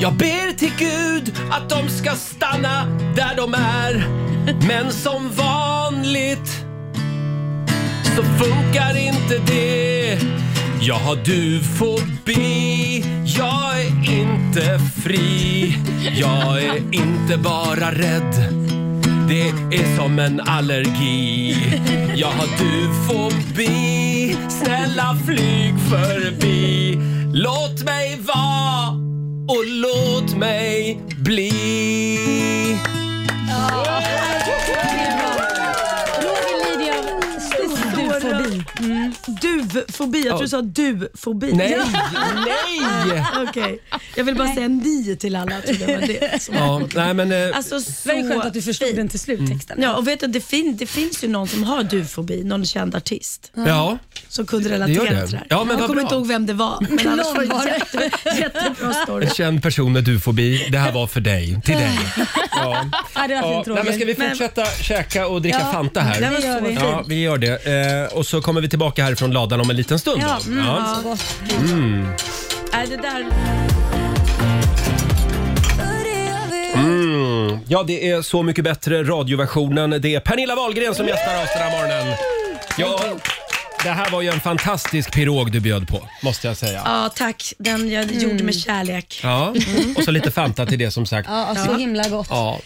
A: Jag ber till Gud att de ska stanna där de är. Men som vanligt så funkar inte det. Jag har dufobi, jag är inte fri. Jag är inte bara rädd. Det är som en allergi. Jag har dufobi, snälla flyg förbi. Låt mig vara och låt mig bli.
B: Roger lider av stor dufobi.
J: Mm. Dufobi. Jag tror du sa dufobi.
A: Nej, nej!
J: Okej. Jag vill bara säga ni till alla. Jag trodde det var det. som-
A: Ja, nej men... eh,
J: Alltså, så
B: Det var ju skönt att du förstod den till
A: Mm.
B: slut texten.
J: Ja, och vet du, det, fin- det finns ju någon som har dufobi, någon känd artist
A: Ja.
J: som kunde
A: gör
J: relatera
A: det.
J: till det här.
A: Ja, men
J: Jag
A: vad
J: kommer
A: bra.
J: inte ihåg vem det var, men annars var
B: Någon var
J: det
B: det.
J: jätte, jättebra story.
A: En känd person med dufobi. Det här var för dig. Till dig. Ja.
B: Ja, det var
A: Ja,
B: fint
A: nej,
B: Roger.
A: men ska vi fortsätta käka och dricka
B: Ja,
A: Fanta här?
B: det gör vi.
A: Ja, vi gör det. Eh, och så kommer vi tillbaka härifrån ladan om en liten stund.
B: Ja,
A: då.
B: mm,
A: Ja. Mm.
B: så gott.
J: Nej, det där...
A: Ja, det är Så mycket bättre radioversionen. Det är Pernilla Wahlgren som gästar oss den här morgonen. Ja, det här var ju en fantastisk pirog du bjöd på, måste jag säga.
J: Ja, tack. Den jag
B: Mm.
J: gjorde med kärlek.
A: Ja, och så lite Fanta till det som sagt.
B: Ja, så himla gott.
A: Ja.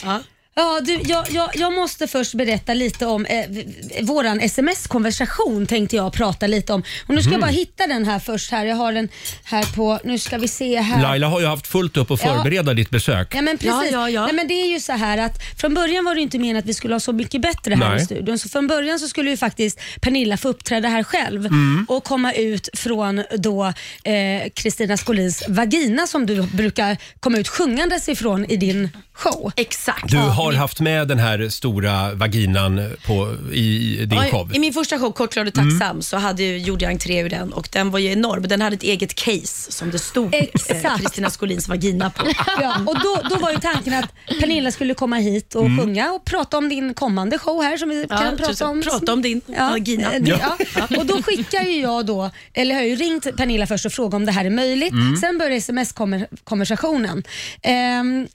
B: Ja, du, jag, jag, jag måste först berätta lite om eh, v- v- våran sms-konversation tänkte jag prata lite om. Och nu ska jag bara hitta den här först. här. Jag har den här på, nu ska vi se här.
A: Laila har ju haft fullt upp att
B: Ja.
A: förbereda ditt besök.
B: Ja men precis.
J: Ja, ja, ja.
B: Nej, men det är ju så här att från början var det ju inte meningen att vi skulle ha så mycket bättre här
A: Nej.
B: i studion. Så från början så skulle ju faktiskt Pernilla få uppträda här själv och komma ut från då eh, Kristina Skolins vagina som du brukar komma ut sjungandes ifrån i din show.
J: Exakt.
A: Du har haft med den här stora vaginan på, i, i din
J: Ja,
A: show.
J: I min första show, Kort, glad och tacksam,
A: Mm.
J: så hade, ju- gjorde jag entré ur den och den var ju enorm. Den hade ett eget case som det stod eh,
B: Exakt. Mm.
J: Kristina Skolins vagina på.
B: Ja, och då, då var ju tanken att Pernilla skulle komma hit och sjunga och prata om din kommande show här som vi kan prata om.
J: Prata om din
B: Ja,
J: vagina.
B: eh, det- ja. Och då skickar ju jag då, eller jag har ju ringt Pernilla först och frågat om det här är möjligt. Sen börjar sms-konversationen. Ehm,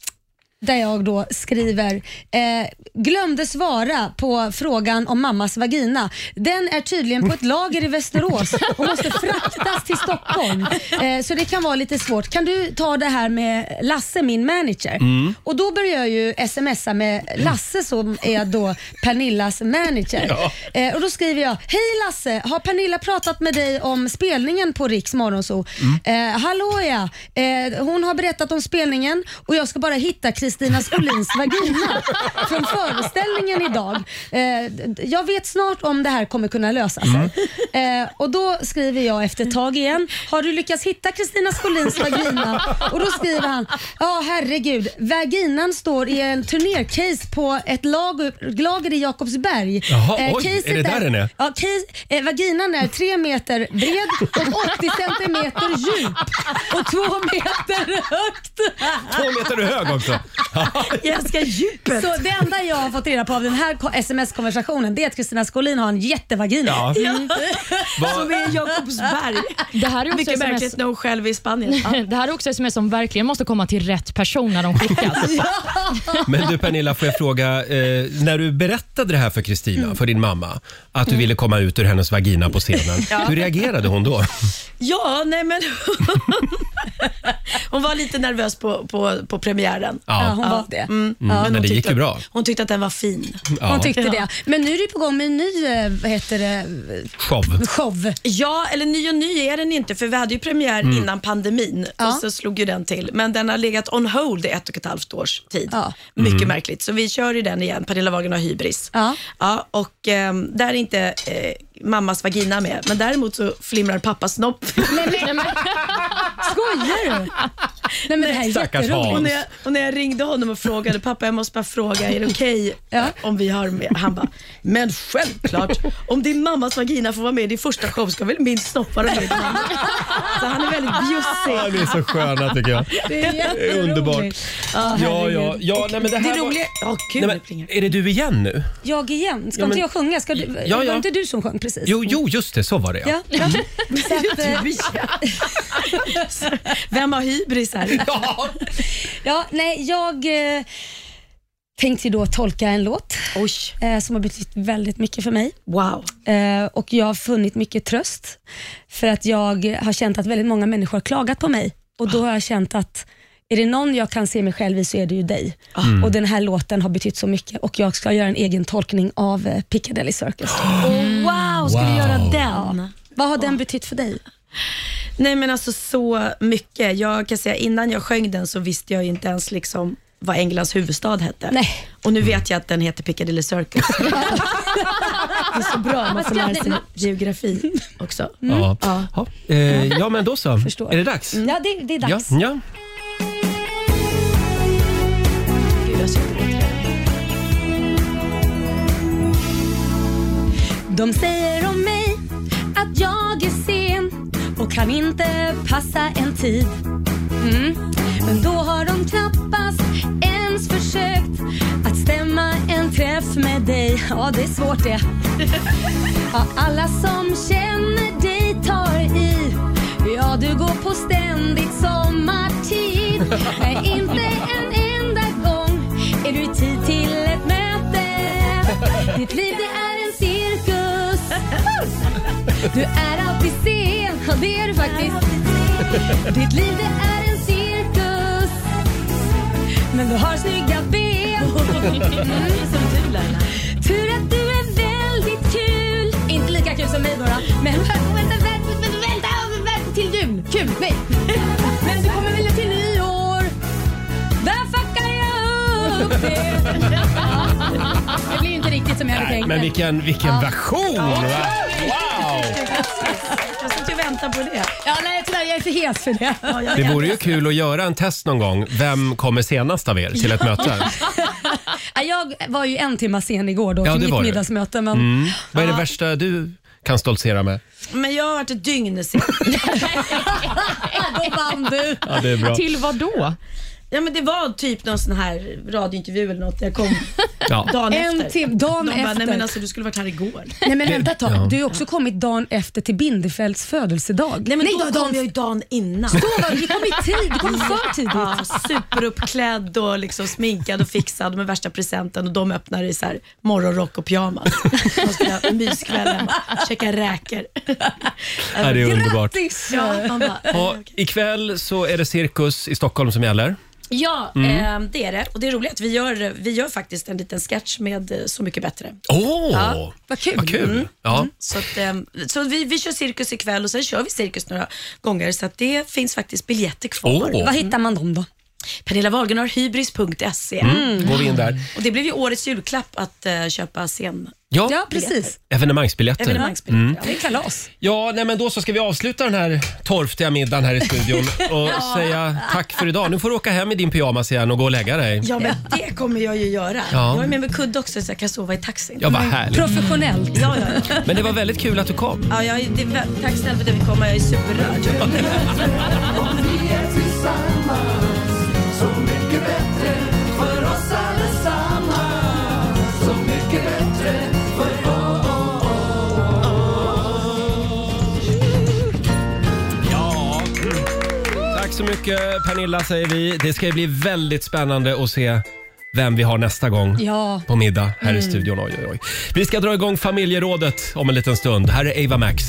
B: där jag då skriver eh, “Glömde svara på frågan om mammas vagina. Den är tydligen på ett lager i Västerås och måste fraktas till Stockholm. Eh, så det kan vara lite svårt. Kan du ta det här med Lasse, min manager?”
K: Mm.
B: Och då börjar jag ju smsa med Lasse som är då Pernillas manager.
K: Ja.
B: Eh, och då skriver jag, hej Lasse, har Pernilla pratat med dig om spelningen på Riks Morgonzoo?
A: Mm.
B: Eh, hallå ja, eh, hon har berättat om spelningen och jag ska bara hitta Kristina Skolins vagina från föreställningen idag. Eh, d- jag vet snart om det här kommer kunna lösa sig.
A: Mm.
B: Eh, och då skriver jag efter ett tag igen, har du lyckats hitta Kristina Skolins vagina? Och då skriver han, ja herregud, vaginan står i en turnercase på ett lager, lager i Jakobsberg. Eh,
A: Jaha, oj,
B: caset
A: är det där den är?
B: Ja, case, eh, vaginan är tre meter bred och 80 centimeter djup och två meter högt.
A: Två meter hög också.
B: Jag älskar djupet. Så det enda jag har fått reda på av den här ko- sms-konversationen det är att Kristina Skolin har en jättevagina.
A: Ja. Vad-
J: Som är Jakobsberg.
C: Det här är också
J: Mycket
C: sms
J: märkligt när hon själv är i Spanien. Ja.
C: Det här är också sms som verkligen måste komma till rätt person när de skickas.
A: Men du Pernilla, får jag fråga, eh, när du berättade det här för Kristina,
J: Mm.
A: för din mamma, att du ville komma ut ur hennes vagina på scenen,
J: Ja.
A: hur reagerade hon då?
J: Ja, nej men... hon var lite nervös på, på, på premiären.
A: Ja. Ja,
B: hon var det.
A: Mm,
J: Mm.
A: men
J: hon
A: det gick
J: tyckte-
A: ju bra.
J: Hon tyckte att den var fin.
A: Ja.
B: Hon tyckte det. Men nu är det på gång med en ny, eh, vad heter det,
A: Show.
B: show.
J: Ja, eller ny och ny är den inte, för vi hade ju premiär
A: Mm.
J: innan pandemin och så slog ju den till. Men den har legat on hold i ett och ett halvt års tid. Mycket
K: Mm.
J: märkligt. Så vi kör ju den igen, Pernilla Wagen har hybris.
B: Ja.
J: Ja, och ehm, där är inte eh, mammas vagina med, men däremot så flimrar pappas snopp.
B: Skojar du? Nej, men det här är
J: Stackars
B: jätteroligt.
J: Hans. Och när, jag, och när jag ringde honom och frågade, pappa jag måste bara fråga, är det okej om vi har med? Han bara, men självklart, om din mammas vagina får vara med i din första show ska väl min snopp vara med i din andra?" Så han är väldigt bjussig.
A: Ja, det är så sköna tycker jag.
J: Det är
A: Det är
J: jätteroligt.
A: underbart.
J: Ja,
A: Ja, ja,
J: herregud.
A: ja, nej, men det här
J: det
A: var-
J: roliga... Ja,
A: Nej,
J: gud.
A: men, är det du igen nu?
B: Jag igen? Ska
A: Ja, men-
B: inte jag sjunga? Ska du,
A: ja.
B: Var det inte du som sjöng precis?
A: Jo, jo, just det, så var det ja.
B: Ja. ja. Så att, eh,
J: Vem har hybris här?
A: Ja.
B: ja, nej, jag eh, tänkte ju då tolka en låt eh, som har betytt väldigt mycket för mig.
J: Wow.
B: Eh, och jag har funnit mycket tröst för att jag har känt att väldigt många människor har klagat på mig och då har jag känt att är det någon jag kan se mig själv i så är det ju dig.
K: Mm.
B: Och Den här låten har betytt så mycket och jag ska göra en egen tolkning av eh, Piccadilly Circus.
J: Oh,
B: Mm.
J: wow, ska du göra den?
B: Vad har den betytt för dig?
J: Nej men alltså så mycket. Jag kan säga innan jag sjöng den så visste jag ju inte ens liksom vad Englands huvudstad hette.
B: Nej.
J: Och nu vet jag att den heter Piccadilly Circus. det är så bra man får lära sig geografi också.
B: Mm.
A: Ja.
J: Ja.
A: Ja. Eh, ja, men då så. Är det dags?
B: Ja, det, det är Mm, dags.
A: Ja, ja.
B: De säger om mig att jag är sen och kan inte passa en tid. Mm. Men då har de knappast ens försökt att stämma en träff med dig. Ja, det är svårt det. Ja, alla som känner dig tar i. Ja, du går på ständigt sommartid. Nej, inte en enda gång är du i tid till ett möte. Ditt liv det är en cirkus. Du är alltid sen, ja det är du faktiskt. Ditt liv det är en cirkus. Men du har snygga ben. Mm. Tur att du är väldigt kul. Inte lika kul som mig bara. Men vänta, vänta, vänta, vänta, vänta till jul. Kul, nej. Men du kommer vilja till nyår. Där fuckar jag upp det. Ja. Det blir ju inte riktigt som jag hade
A: Nej,
B: tänkt.
A: men vilken, vilken
B: Ja.
A: version! Va?
J: Jag satt ju och väntade på det.
B: Ja, nej tyvärr, jag är för hes för det.
A: Det vore ju kul att göra en test någon gång. Vem kommer senast av er till ett möte? Mm.
B: Ja, jag var ju en timme sen igår då
A: Ja,
B: till
A: det var
B: mitt
A: du.
B: middagsmöte. Men...
A: Mm. Vad är det
B: Ja.
A: värsta du kan stoltsera med?
J: Men jag har varit ett dygn sen.
B: Då vann du.
A: Ja, det är bra.
C: Till vad då?
J: Ja men det var typ någon sån här radiointervju eller något där jag kom
A: Ja.
J: dagen
B: En
J: efter.
B: tim- dagen
J: De bara,
B: efter.
J: nej men alltså du skulle varit här igår.
B: Nej men
A: Det-
B: vänta ett tag,
A: ja.
B: du har ju också kommit dagen efter till Bindefelds födelsedag.
J: Nej men då
B: dagen-
J: kom jag ju dagen innan.
B: Då var du, du kom i tid, du kom för
J: Ja,
B: tidigt.
J: superuppklädd och liksom sminkad och fixad med värsta presenten och de öppnar i så här morgonrock och pyjamas. De skulle ha myskväll hemma, käka räkor.
A: Ja, det är underbart.
B: Grattis!
J: Ja, man bara,
A: Ja, ikväll så är det cirkus i Stockholm som gäller.
J: ja
B: Mm.
J: eh, det är det. Och det är roligt att vi gör, vi gör faktiskt en liten sketch med eh, Så mycket bättre.
A: Åh,
B: vad kul. Mm.
A: Vad kul. Ja.
J: Så, att, eh, så vi, vi kör cirkus ikväll och sen kör vi cirkus några gånger så att det finns faktiskt biljetter kvar.
A: Åh.
B: Vad hittar man dem då?
J: Pernilla Wahlgren har hybris.se
B: Mm.
A: Går vi in där.
J: och det blev ju årets julklapp att eh, köpa scen
A: Ja,
B: Ja, precis.
A: evenemangsbiljetter.
J: evenemangsbiljetter.
A: Mm.
B: Det är kalas.
A: Ja, nej, men då så ska vi avsluta den här torftiga middagen här i studion och säga tack för idag. Nu får du åka hem i din pyjamas igen och gå och lägga dig.
J: Ja, men det kommer jag ju göra.
A: Ja.
J: Jag är med med kudde också så jag kan sova i taxin.
A: Ja, vad härligt.
B: Professionellt.
J: Ja, ja, ja.
A: Men det var väldigt kul att du kom.
J: ja jag, är- det, är- tack snälla för att jag fick komma. Jag är superrörd.
A: Tack så mycket Pernilla säger vi. Det ska ju bli väldigt spännande att se vem vi har nästa gång
B: Ja.
A: på middag här
J: Mm.
A: i studion. Oj, oj, oj. Vi ska dra igång familjerådet om en liten stund. Här är Ava Max.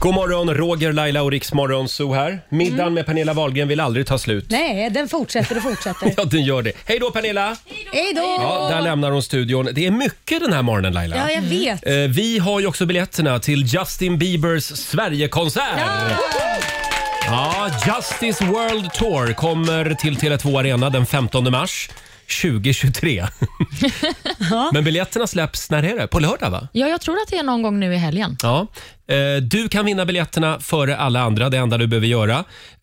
A: God morgon, Roger, Laila och Riks Morgonzoo här. Middagen
J: Mm.
A: med Pernilla Wahlgren vill aldrig ta slut.
B: Nej, den fortsätter och fortsätter.
A: Ja, den gör det. Hej då Pernilla!
B: Hej då!
A: Ja, där lämnar hon studion. Det är mycket den här morgonen Laila.
B: Ja, jag vet.
A: Eh, Vi har ju också biljetterna till Justin Biebers Sverigekonsert. Ja, Justice World Tour kommer till Tele2 Arena den 15 mars 2023. Men biljetterna släpps, när är det? På lördag va?
C: Ja, jag tror att det är någon gång nu i helgen.
A: Ja. Eh, Du kan vinna biljetterna före alla andra. Det enda du behöver göra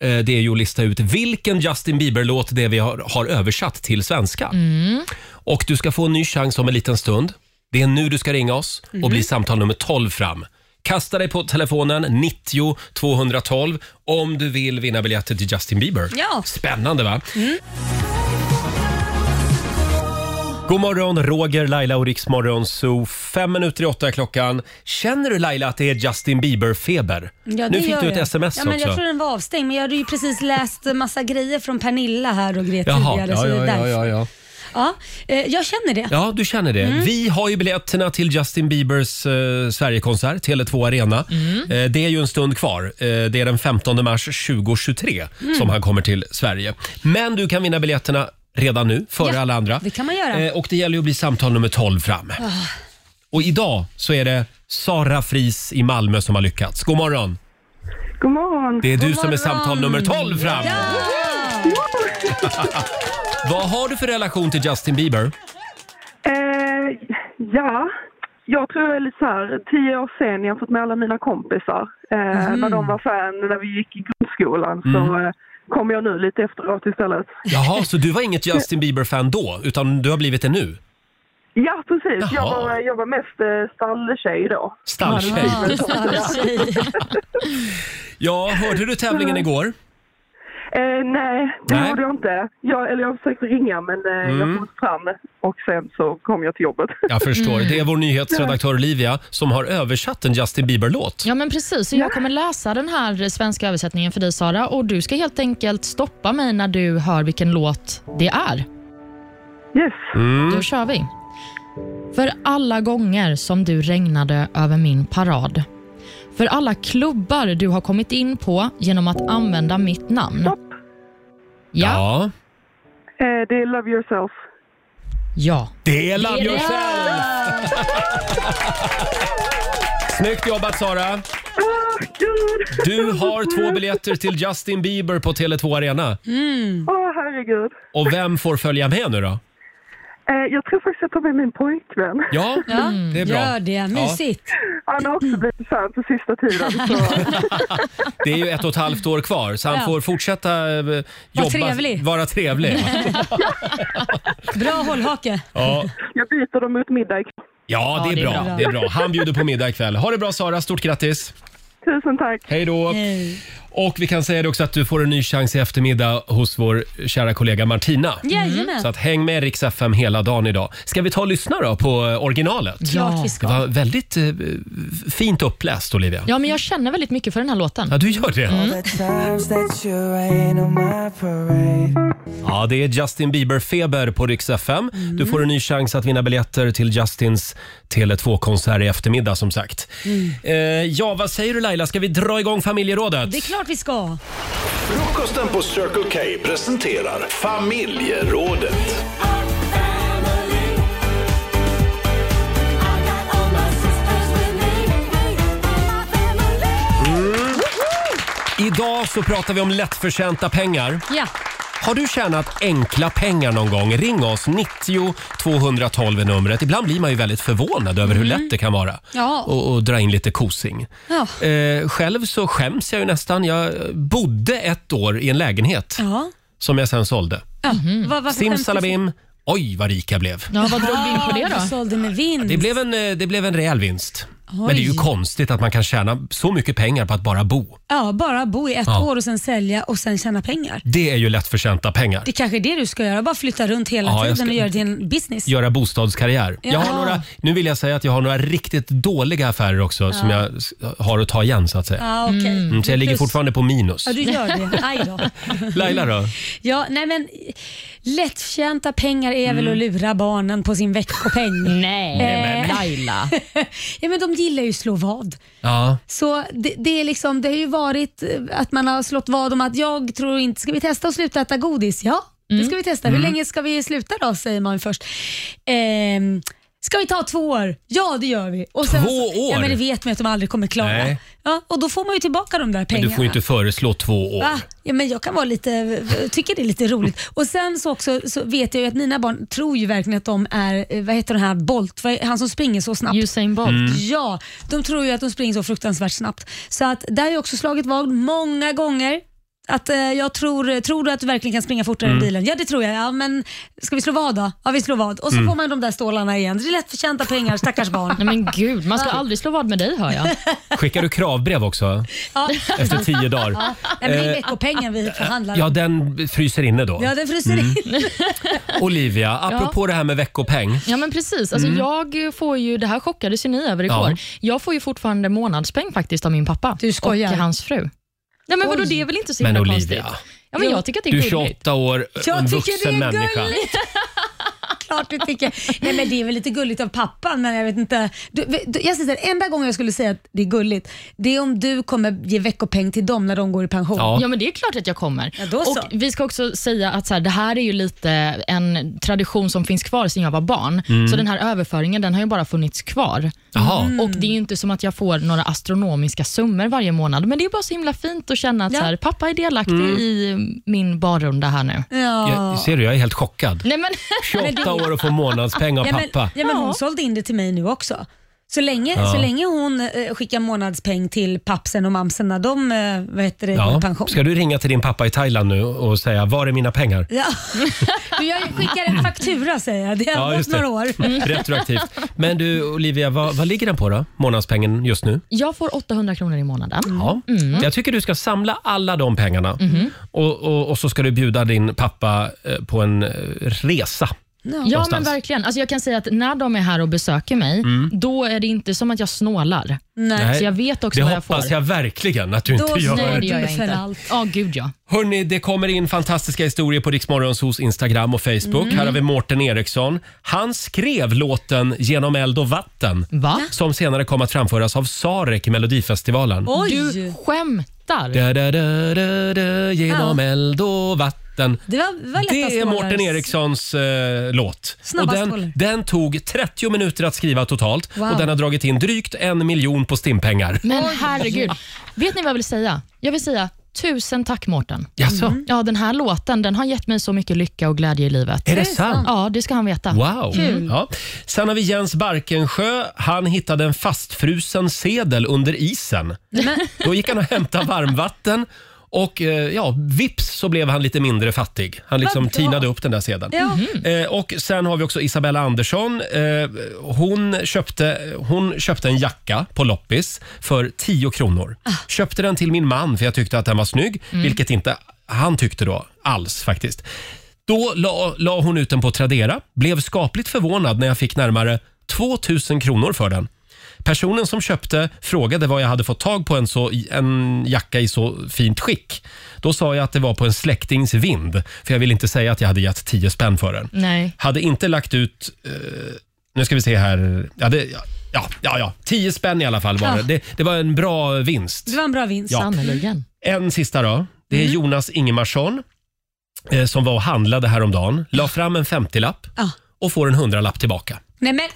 A: eh, det är ju att lista ut vilken Justin Bieber-låt det är vi har, har översatt till svenska.
B: Mm.
A: Och Du ska få en ny chans om en liten stund. Det är nu du ska ringa oss och
B: Mhm.
A: bli samtal nummer 12 fram. Kasta dig på telefonen 90 212 om du vill vinna biljetter till Justin Bieber.
B: Ja. Mm.
A: Spännande va? God morgon, Roger, Laila och Riksmorgon Zoo. Fem minuter i åtta är klockan. Känner du Laila att det är Justin Bieber-feber?
B: Ja, det
A: nu fick
B: gör
A: du ett
B: jag.
A: sms
B: ja, men
A: också.
B: Jag tror den var avstängd, men jag hade ju precis läst massa grejer från Pernilla här och Gret
A: Jaha,
B: tidigare.
A: ja,
B: så det
A: ja,
B: är
A: ja,
B: därför.
A: ja, ja.
B: Ja, eh, jag känner det.
A: Ja, du känner
B: Mm.
A: det. Vi har ju biljetterna till Justin Biebers eh, Sverigekonsert, Tele2 Arena.
B: Mm.
A: Eh, det är ju en stund kvar. Eh, det är den 15 mars 2023
B: Mm.
A: som han kommer till Sverige. Men du kan vinna biljetterna redan nu, före
B: Ja,
A: alla andra.
B: det kan man göra. Ah.
A: Eh, och det gäller ju att bli samtal nummer 12 fram. Och idag så är det Sara Fris i Malmö som har lyckats. God morgon!
H: God morgon.
A: Det är du som är samtal nummer 12 fram. Vad har du för relation till Justin Bieber?
H: Eh, ja, jag tror jag är lite så här, tio år sen jämfört med alla mina kompisar. Eh,
A: Mhm.
H: När de var fan när vi gick i grundskolan så
A: Mm.
H: eh, kom jag nu lite efteråt istället.
A: Jaha, så du var inget Justin Bieber-fan då, utan du har blivit det nu?
H: Ja, precis. Jag
A: Jaha.
H: var, jag var mest eh, stalltjej då.
A: Stalltjej. Ja, hörde du tävlingen igår?
H: Eh, nej, det
A: Nej. Mm.
H: gjorde jag inte. Jag, eller jag försökte ringa men eh, jag kom inte fram och sen så kom jag till jobbet.
A: Jag förstår. Det är vår nyhetsredaktör Olivia som har översatt en Justin Bieber-låt.
C: Ja, men precis. Så jag kommer läsa den här svenska översättningen för dig, Sara. Och Du ska helt enkelt stoppa mig när du hör vilken låt det är.
H: Yes.
A: Mm.
C: Då kör vi. För alla gånger som du regnade över min parad. För alla klubbar du har kommit in på genom att använda mitt namn.
H: Stopp.
C: Ja.
A: Ja.
H: Eh, det är Love yourself.
C: Ja.
A: Det är Love
C: Det är-
A: yourself! Snyggt jobbat Sara!
H: Ah, gud!
A: Du har två biljetter till Justin Bieber på Tele2 Arena.
H: Åh, herregud.
A: Och vem får följa med nu då?
H: Eh, jag tror faktiskt jag tar med min pojkvän.
A: Ja,
B: Ja,
A: det är bra.
B: Gör det, mysigt.
H: Han har också blivit fan på sista tiden. Så.
A: Det är ju ett och ett halvt år kvar så han
B: Ja.
A: får fortsätta eh, jobba.
B: trevlig.
A: Vara trevlig.
B: Bra hållhake.
A: Ja.
H: Jag byter dem mot middag. ikväll.
A: Ja, det är, bra. Det är bra. Han bjuder på middag ikväll. Ha det bra Sara, stort grattis.
H: Tusen tack.
A: Hej då. Och vi kan säga det också att du får en ny chans i eftermiddag hos vår kära kollega Martina.
B: Jajamän.
A: Så att häng med Rix FM hela dagen idag. Ska vi ta och lyssna då på eh, originalet?
C: Klart vi ska.
A: Det var väldigt eh, fint uppläst Olivia.
C: Ja, men jag känner väldigt mycket för den här låten.
A: Ja, du gör det.
C: Mm.
A: Ja, det är Justin Bieber-feber på Rix FM.
B: Mm.
A: Du får en ny chans att vinna biljetter till Justins Tele2-konsert i eftermiddag som sagt.
B: Mm.
A: Eh, ja, vad säger du Laila? Ska vi dra igång familjerådet?
B: Det är klart vi ska.
G: Frukosten på Circle K presenterar familjerådet.
A: Idag så pratar vi om lättförtjänta pengar.
B: Ja.
A: Har du tjänat enkla pengar någon gång? Ring oss, 90 212 är numret. Ibland blir man ju väldigt förvånad över hur lätt det kan vara
B: Mm. Ja.
A: och, och dra in lite kosing.
B: Ja.
A: Eh, själv så skäms jag ju nästan. Jag bodde ett år i en lägenhet
B: Ja.
A: som jag sen sålde.
B: ja. Vad- varför Alltså, skäms
A: Mhm. Simsalabim. Oj, vad rik jag blev.
C: Ja, vad drog vi in på
B: du?
C: det
B: Ja, Du
C: då?
B: sålde med vinst.
A: Det blev en, eh, det blev en rejäl vinst. Men
B: Oj.
A: det är ju konstigt att man kan tjäna så mycket pengar på att bara bo.
B: Ja, bara bo i ett
A: Ja.
B: år och sen sälja och sen tjäna pengar.
A: Det är ju lättförtjänta pengar.
B: Det kanske är det du ska göra, bara flytta runt hela
A: Ja, jag
B: tiden
A: ska-
B: och göra det till en business.
A: göra bostadskarriär. Jag har
B: Ja.
A: några, nu vill jag säga att jag har några riktigt dåliga affärer också som jag s- har att ta igen så att säga.
B: Ja, okej.
A: Mm, så jag ligger
B: Plus-
A: fortfarande på minus.
B: Ja, du gör det. Aj då.
A: Laila då?
B: Ja, nej men lättförtjänta pengar är väl att
A: Mm.
B: lura barnen på sin veckopeng.
C: Nej,
B: men-
C: Laila.
B: ja, men de gillar ju slå vad.
A: Ja.
B: Så det, det, är liksom, det har ju varit eh, att man har slått vad om att jag tror inte, ska vi testa att sluta äta godis? Ja,
A: Mm.
B: det ska vi testa. Hur länge ska vi sluta då, säger man först. Ehm, ska vi ta två år? Ja, det gör vi. Och
A: Två
B: så- Ja,
A: år?
B: men det vet man ju att de aldrig kommer klara.
A: Nej.
B: Ja, och då får man ju tillbaka de där
A: Men
B: pengarna.
A: du får ju inte föreslå två år.
B: Va? Ja, men jag kan vara lite, eh, tycker det är lite roligt. Och Sen så också så vet jag ju att mina barn tror ju verkligen att de är, eh, vad heter den här Bolt, vad är- han som springer så snabbt.
C: Usain Bolt.
A: Mm.
B: Ja, de tror ju att de springer så fruktansvärt snabbt. Så att där har jag också slagit vad många gånger. Att eh, jag tror, tror du att du verkligen kan springa fortare
A: Mm.
B: än bilen? Ja det tror jag. Ja, men ska vi slå vad då? Ja vi slår vad. Och så
A: Mm.
B: får man de där stålarna igen. Det är lättförtjänta pengar, stackars barn.
C: Nej men gud, man ska aldrig slå vad med dig hör jag.
A: Skickar du kravbrev också
B: Ja.
A: efter tio dagar?
B: Nej, men det är veckopengen vi förhandlar om.
A: Eh, Ja, Mm. den fryser inne då.
B: Ja, den fryser in.
A: Olivia, apropå det här med veckopeng.
C: Ja men precis. Alltså, Jag får ju, det här chockades ju ni över igår.
A: Mm. Ja.
C: Jag får ju fortfarande månadspeng faktiskt av min pappa
B: Du skojar.
C: och hans fru. Nej men vadå, det är väl inte så
A: Men
C: himla
A: Olivia,
C: konstigt? Ja, men jag tycker att det
A: du är
C: är gulligt.
A: 28 år,
B: Jag
A: en
B: tycker
A: vuxen
B: det är
A: människa.
B: gulligt. Klart du tycker. Nej men det är väl lite gulligt av pappan men jag vet inte. Du, du, jag säger så här, enda gången jag skulle säga att det är gulligt, det är om du kommer ge veckopeng till dem när de går i pension.
A: Ja.
C: Ja men det är klart att jag kommer.
B: Ja, då så.
C: och Vi ska också säga att så här, det här är ju lite en tradition som finns kvar sedan jag var barn. Så den här överföringen den har ju bara funnits kvar.
A: Mm. Jaha.
B: Mm.
C: Och Det är ju inte som att jag får några astronomiska summor varje månad, men det är bara så himla fint att känna att
B: Ja.
C: så här, pappa är delaktig
A: Mm.
C: i min barrunda här
B: Mm.
C: nu.
A: Jag,
B: Ja.
A: ser du, jag är helt chockad.
C: Nej, men,
A: 28 år och får månadspeng av
B: Ja, men,
A: pappa.
B: ja, men hon
C: Ja.
B: sålde in det till mig nu också. Så länge,
A: Ja.
B: så länge hon eh, skickar månadspeng till pappsen och mamsen när de eh, vad heter det, går i pension.
A: Ska du ringa till din pappa i Thailand nu och säga var är mina pengar?
B: Ja. Du, jag skickar en faktura säger jag. Det har gått några år.
A: Retroaktivt. Men du Olivia, vad, vad ligger den på då? Månadspengen just nu?
B: Mm.
C: jag får 800 kronor i månaden.
A: Ja. Jag tycker du ska samla alla de pengarna
B: Mhm.
A: och, och, och så ska du bjuda din pappa eh, på en eh, resa.
C: Ja, men
A: Någonstans. Mm.
C: verkligen. Alltså, jag kan säga att när de är här och besöker mig, då är det inte som att jag snålar.
B: Nej.
C: Så jag vet också
A: det
C: vad jag får.
A: hoppas jag verkligen att du
B: Då
A: inte gör.
B: snäll.
C: Nej, det gör jag
B: Du
C: inte.
B: för allt.
C: Ja, gud ja.
A: Hörni, det kommer in fantastiska historier på Riksmorgonsos Instagram och Facebook. Här har vi Mårten Eriksson. Han skrev låten Genom eld och vatten.
C: Va?
A: som senare kom att framföras av Sarek i Melodifestivalen.
B: Oj!
C: Du skämtar?
A: Da, da, da, da, da, genom eld och vatten.
B: det var, var
A: Det är Mårten
B: Eriksson.
A: Erikssons eh, låt.
B: Snabba
A: och den,
B: skålar.
A: den tog 30 minuter att skriva totalt
B: Wow.
A: och den har dragit in drygt en miljon på stimpengar.
C: Men herregud. Vet ni vad jag vill säga? Jag vill säga tusen tack Mårten.
A: Jaså?
C: Ja, den här låten den har gett mig så mycket lycka och glädje i livet.
A: Är det sant?
C: Ja, det ska han veta.
A: Wow. Mm. Ja. Sen har vi Jens Barkensjö. Han hittade en fastfrusen sedel under isen. Då gick han och hämtade varmvatten Och eh, ja, vips så blev han lite mindre fattig. Han liksom
B: Vad bra.
A: tinade upp den där sedeln.
B: Ja.
A: Eh, och sen har vi också Isabella Andersson. Eh, hon, köpte, hon köpte en jacka på loppis för 10 kronor.
B: Ah.
A: Köpte den till min man för jag tyckte att den var snygg,
B: Mm.
A: vilket inte han tyckte då alls faktiskt. Då la, la hon ut den på Tradera, blev skapligt förvånad när jag fick närmare 2000 kronor för den. Personen som köpte frågade vad jag hade fått tag på en, så, en jacka i så fint skick. Då sa jag att det var på en släktings vind, för jag ville inte säga att jag hade gett 10 spänn för den.
C: Nej.
A: Hade inte lagt ut... Eh, nu ska vi se här. Ja, det, ja, ja, ja, ja. 10 spänn i alla fall var det.
C: Ja.
A: det. Det var en bra vinst.
B: Det var en bra vinst.
A: Ja.
C: Sannerligen.
A: En sista då. Det
B: Mm.
A: är Jonas Ingemarsson eh, som var och handlade häromdagen. La fram en 50-lapp
B: Ja.
A: och får en 100-lapp tillbaka.
B: Nej men,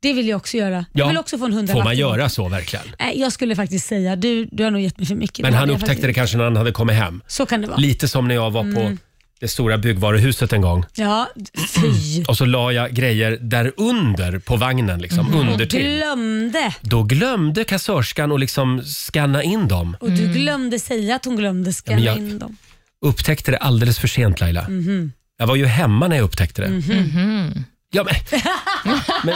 B: det vill jag också göra.
A: Ja.
B: Jag vill också få en hundralapp.
A: Får man
B: till.
A: göra så verkligen?
B: Nej, jag skulle faktiskt säga, du, du har nog gett mig för mycket.
A: Men
B: Det
A: han
B: hade jag
A: upptäckte det
B: faktiskt- Mm.
A: kanske när han hade kommit hem.
B: Så kan det vara.
A: Lite som när jag var på det stora byggvaruhuset en gång
B: Ja, fy.
A: och så la jag grejer där under på vagnen liksom,
B: Mm.
A: under till.
B: Glömde.
A: Då glömde kassörskan att liksom scanna in dem.
B: Och du glömde säga att hon glömde scanna
A: Mm. Ja, men jag-
B: in dem.
A: Upptäckte det alldeles för sent Laila.
B: Mhm.
A: Jag var ju hemma när jag upptäckte det. Mhm. Ja, men, men,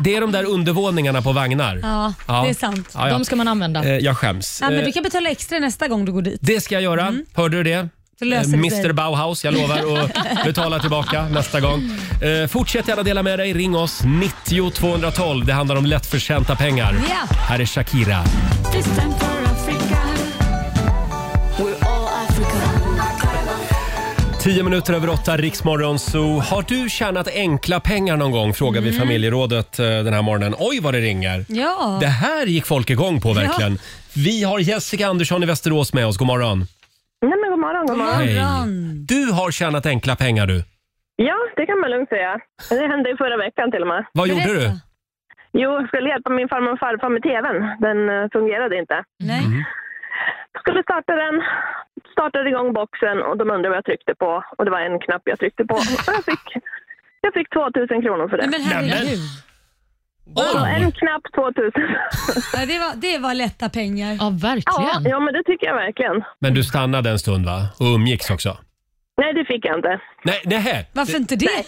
A: det är de där undervåningarna på vagnar.
B: Ja, det är sant.
A: Ja, ja.
C: De ska man använda.
A: Eh, Jag skäms.
B: Ja, men
A: Eh,
B: du kan betala extra nästa gång du går dit.
A: Det ska jag göra. Hörde du det?
B: Så löser det
A: Eh,
B: sig.
A: Mr Bauhaus, jag lovar att betala tillbaka nästa gång. Eh, fortsätt gärna dela med dig. Ring oss 90 212. Det handlar om lättförtjänta pengar.
B: Ja.
A: Här är Shakira.
F: This time for Africa. We're all Africa.
A: 10 minuter över 8, Riksmorgon Zoo. Har du tjänat enkla pengar någon gång? Frågar vi familjerådet eh, den här morgonen. Oj vad det ringer.
B: Mm. Ja.
A: Det här gick folk igång på verkligen. Vi har Jessica Andersson i Västerås med oss. God morgon.
E: Nej, men god morgon, god morgon.
A: Hej.
B: Morgon.
A: Du har tjänat enkla pengar du.
E: Ja, det kan man lugnt säga. Det hände ju förra veckan till och med.
A: Vad gjorde
B: Berätta.
A: du?
E: Jo, jag skulle hjälpa min farmor och farfar med tvn. Den eh, fungerade inte.
B: Nej.
A: Mm.
E: Skulle starta den, startade igång boxen och de undrade vad jag tryckte på. Och det var en knapp jag tryckte på. Och jag fick, jag fick 2000 kronor för det.
B: Nej, men herregud.
E: Så
A: Oj.
E: en knapp 2000.
B: Ja, det, var, det var lätta pengar.
C: Ja,
E: Ja,
C: verkligen.
E: ja, men det tycker jag verkligen.
A: Men du stannade en stund va? Och umgicks också?
E: Nej, det fick jag inte.
A: Nej, nej.
B: Varför inte det?